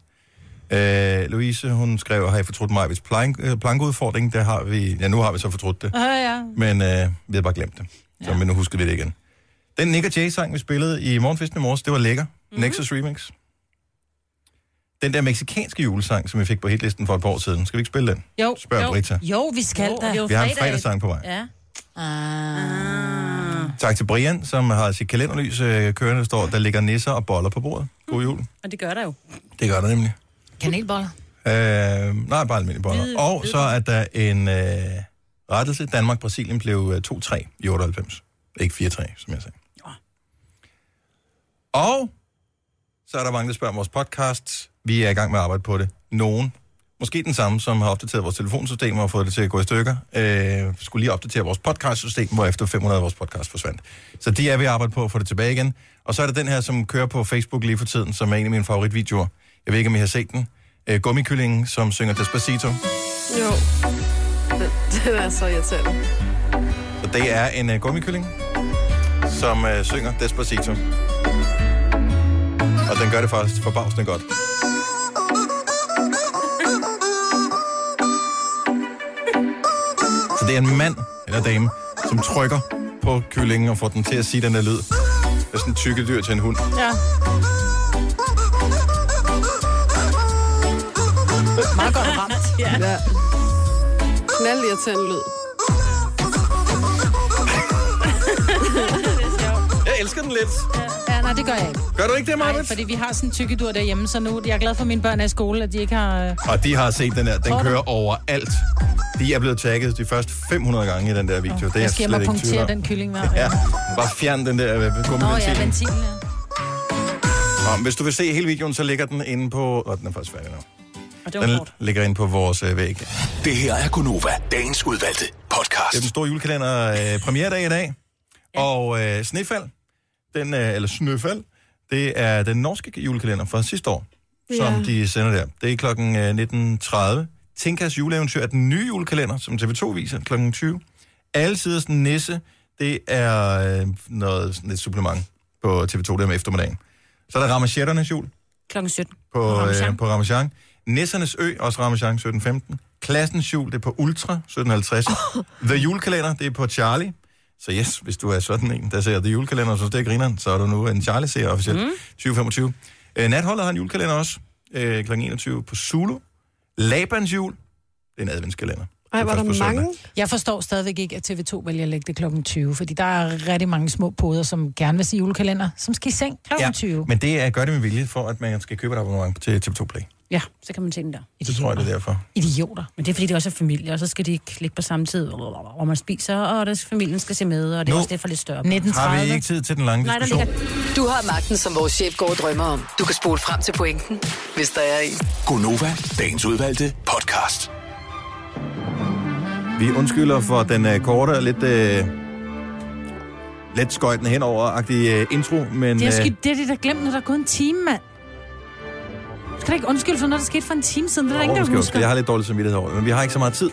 Speaker 1: Øh, Louise, hun skrev, har I fortrudt mig, hvis plank, øh, plankudfordring, der har vi, ja nu har vi så fortrudt det,
Speaker 4: Ja, ja.
Speaker 1: men øh, vi havde bare glemt det. Så ja. men nu husker vi det igen. Den Nick og Jay-sang, vi spillede i morgenfesten i morges, det var lækker. Mm-hmm. Nexus Remix. Den der meksikanske julesang, som vi fik på hitlisten for et par år siden. Skal vi ikke spille den?
Speaker 4: Jo,
Speaker 1: Spørg
Speaker 4: jo.
Speaker 1: Britta.
Speaker 4: Jo, Ah. vi skal da.
Speaker 3: Det er jo
Speaker 1: Vi har en
Speaker 3: fredag.
Speaker 1: fredagssang på vej. Ja.
Speaker 3: Ja. Ah.
Speaker 1: Tak til Brian, som har sit kalenderlys øh, kørende, der står, der ligger nisser og boller på bordet. God jul.
Speaker 3: Og det gør der jo.
Speaker 1: Det gør der nemlig.
Speaker 4: Kanelboller.
Speaker 1: Øh, nej, bare almindelige boller. Og så er der en øh, rettelse. Danmark-Brasilien blev øh, 2-3 i 98. Ikke 4-3, som jeg sagde. Og så er der mange, der spørger om vores podcast. Vi er i gang med at arbejde på det. Nogen, måske den samme, som har opdateret vores telefonsystem og fået det til at gå i stykker, øh, skulle lige opdatere vores podcastsystem, hvor efter 500 af vores podcast forsvandt. Så det er vi at arbejde på at få det tilbage igen. Og så er der den her, som kører på Facebook lige for tiden, som er en af mine favoritvideoer. Jeg ved ikke, om I har set den. Øh, gummikyllingen, som synger Despacito.
Speaker 2: Jo. Den, den er så irriterende.
Speaker 1: Så det er en øh, gummikylling, som øh, synger Despacito. Og den gør det faktisk forbavsende godt. Så det er en mand eller dame, som trykker på kyllingen og får den til at sige den der lyd. Det er sådan tykke dyr til en hund.
Speaker 4: Ja. Meget godt ramt. ja.
Speaker 2: Ja. Knald irriterende lyd.
Speaker 1: Jeg elsker den lidt.
Speaker 4: ja. nej, det gør jeg ikke.
Speaker 1: Gør du ikke det,
Speaker 4: Nej,
Speaker 1: Marvitt?
Speaker 4: fordi vi har sådan en tykkedur derhjemme, så nu jeg er glad for, at mine børn er i skole, at de ikke har... Øh...
Speaker 1: Og de har set den her. Den
Speaker 4: Tror du?
Speaker 1: kører overalt. De er blevet tagget de første 500 gange i den der video. Det er
Speaker 4: jeg
Speaker 1: jeg
Speaker 4: skal hjem
Speaker 1: slet ikke
Speaker 4: og
Speaker 1: i tvivl
Speaker 4: punktere
Speaker 1: om.
Speaker 4: den kylling hver.
Speaker 1: Ja, bare fjern den der øh,
Speaker 4: Nå ja,
Speaker 1: gummiventilen.
Speaker 4: ventilen. Ja.
Speaker 1: Om, hvis du vil se hele videoen, så ligger den inde på... Og den er faktisk færdig nu.
Speaker 3: Og det var
Speaker 1: Den
Speaker 3: hårdt.
Speaker 1: ligger inde på vores øh, væg. Det
Speaker 5: Det her er Gonova, dagens udvalgte
Speaker 1: er den
Speaker 5: podcast.
Speaker 1: store julekalender øh, premieredag i dag. Og øh, Snefald, den, øh, eller Snøfald, det er den norske julekalender fra sidste år, ja. som de sender der. Det er klokken øh, 19.30. Tinkas juleeventyr er den nye julekalender, som TV2 viser klokken 20. Alle siders nisse, det er øh, noget, sådan et supplement på TV2 der om eftermiddagen. Så er der Ramachetternes jul.
Speaker 3: Klokken 17.
Speaker 1: på,
Speaker 3: Ramasjang.
Speaker 1: øh, på Ramachan. Nissernes Ø, også Ramachan 1715. Klassens Jul, det er på Ultra 1750. The Julekalender, det er på Charlie. Så yes, hvis du er sådan en, der ser The Julekalender og synes, det er grineren, så er du nu en Charlie-seer officielt. Mm. 2025. Øh, Natholdet har en julekalender også. Øh, kl. 21 på Zulu. Labans Jul, det er en adventskalender. Det
Speaker 2: Ej,
Speaker 1: er
Speaker 2: var der
Speaker 1: først på søndag.
Speaker 2: mange?
Speaker 4: Jeg forstår stadigvæk ikke, at TV2 vælger at lægge det klokken 20, fordi der er rigtig mange små poder, som gerne vil se julekalender, som skal i seng klokken ja. 20.
Speaker 1: Men det er gør det med vilje for, at man skal købe et abonnement til TV2 Play.
Speaker 3: Ja, så kan man se den der.
Speaker 1: Det tror jeg, det er derfor.
Speaker 4: Idioter.
Speaker 3: Men det er fordi, det også er familie, og så skal de ikke ligge på samme tid, hvor man spiser, og der skal, familien skal se med, og det er
Speaker 1: Nu-
Speaker 3: også det for lidt større.
Speaker 1: Har vi
Speaker 4: 1930.
Speaker 1: ikke tid til den lange
Speaker 3: Nej, der
Speaker 1: diskussion?
Speaker 3: ligger...
Speaker 6: Du har magten, som vores chef går og drømmer om. Du kan spole frem til pointen, hvis der er en.
Speaker 5: Gonova, dagens udvalgte podcast.
Speaker 1: Vi undskylder for den øh, korte og lidt, øh, let skøjtende henover-agtige øh, intro, men
Speaker 4: Det er,
Speaker 1: øh,
Speaker 4: skidt, det er det, der glemt, når der er gået en time, mand. Du skal da ikke undskylde for noget, der skete for en time siden. Det er der ingen, der
Speaker 1: overraskende,
Speaker 4: husker.
Speaker 1: fordi jeg har lidt dårlig samvittighed over det, men vi har ikke så meget tid,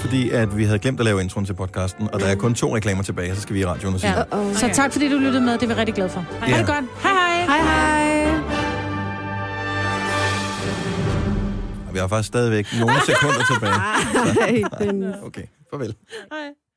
Speaker 1: fordi at vi havde glemt at lave introen til podcasten, og der er kun to reklamer tilbage, så skal vi i radioen og sige. Ja.
Speaker 4: Så tak, fordi du lyttede med. Det er vi rigtig glade for. Ha'
Speaker 1: Ja.
Speaker 4: det godt. Hej hej.
Speaker 2: Hej, hej.
Speaker 1: Og vi har faktisk stadigvæk nogle sekunder tilbage.
Speaker 2: Ej, den
Speaker 1: Okay, farvel.
Speaker 4: hej.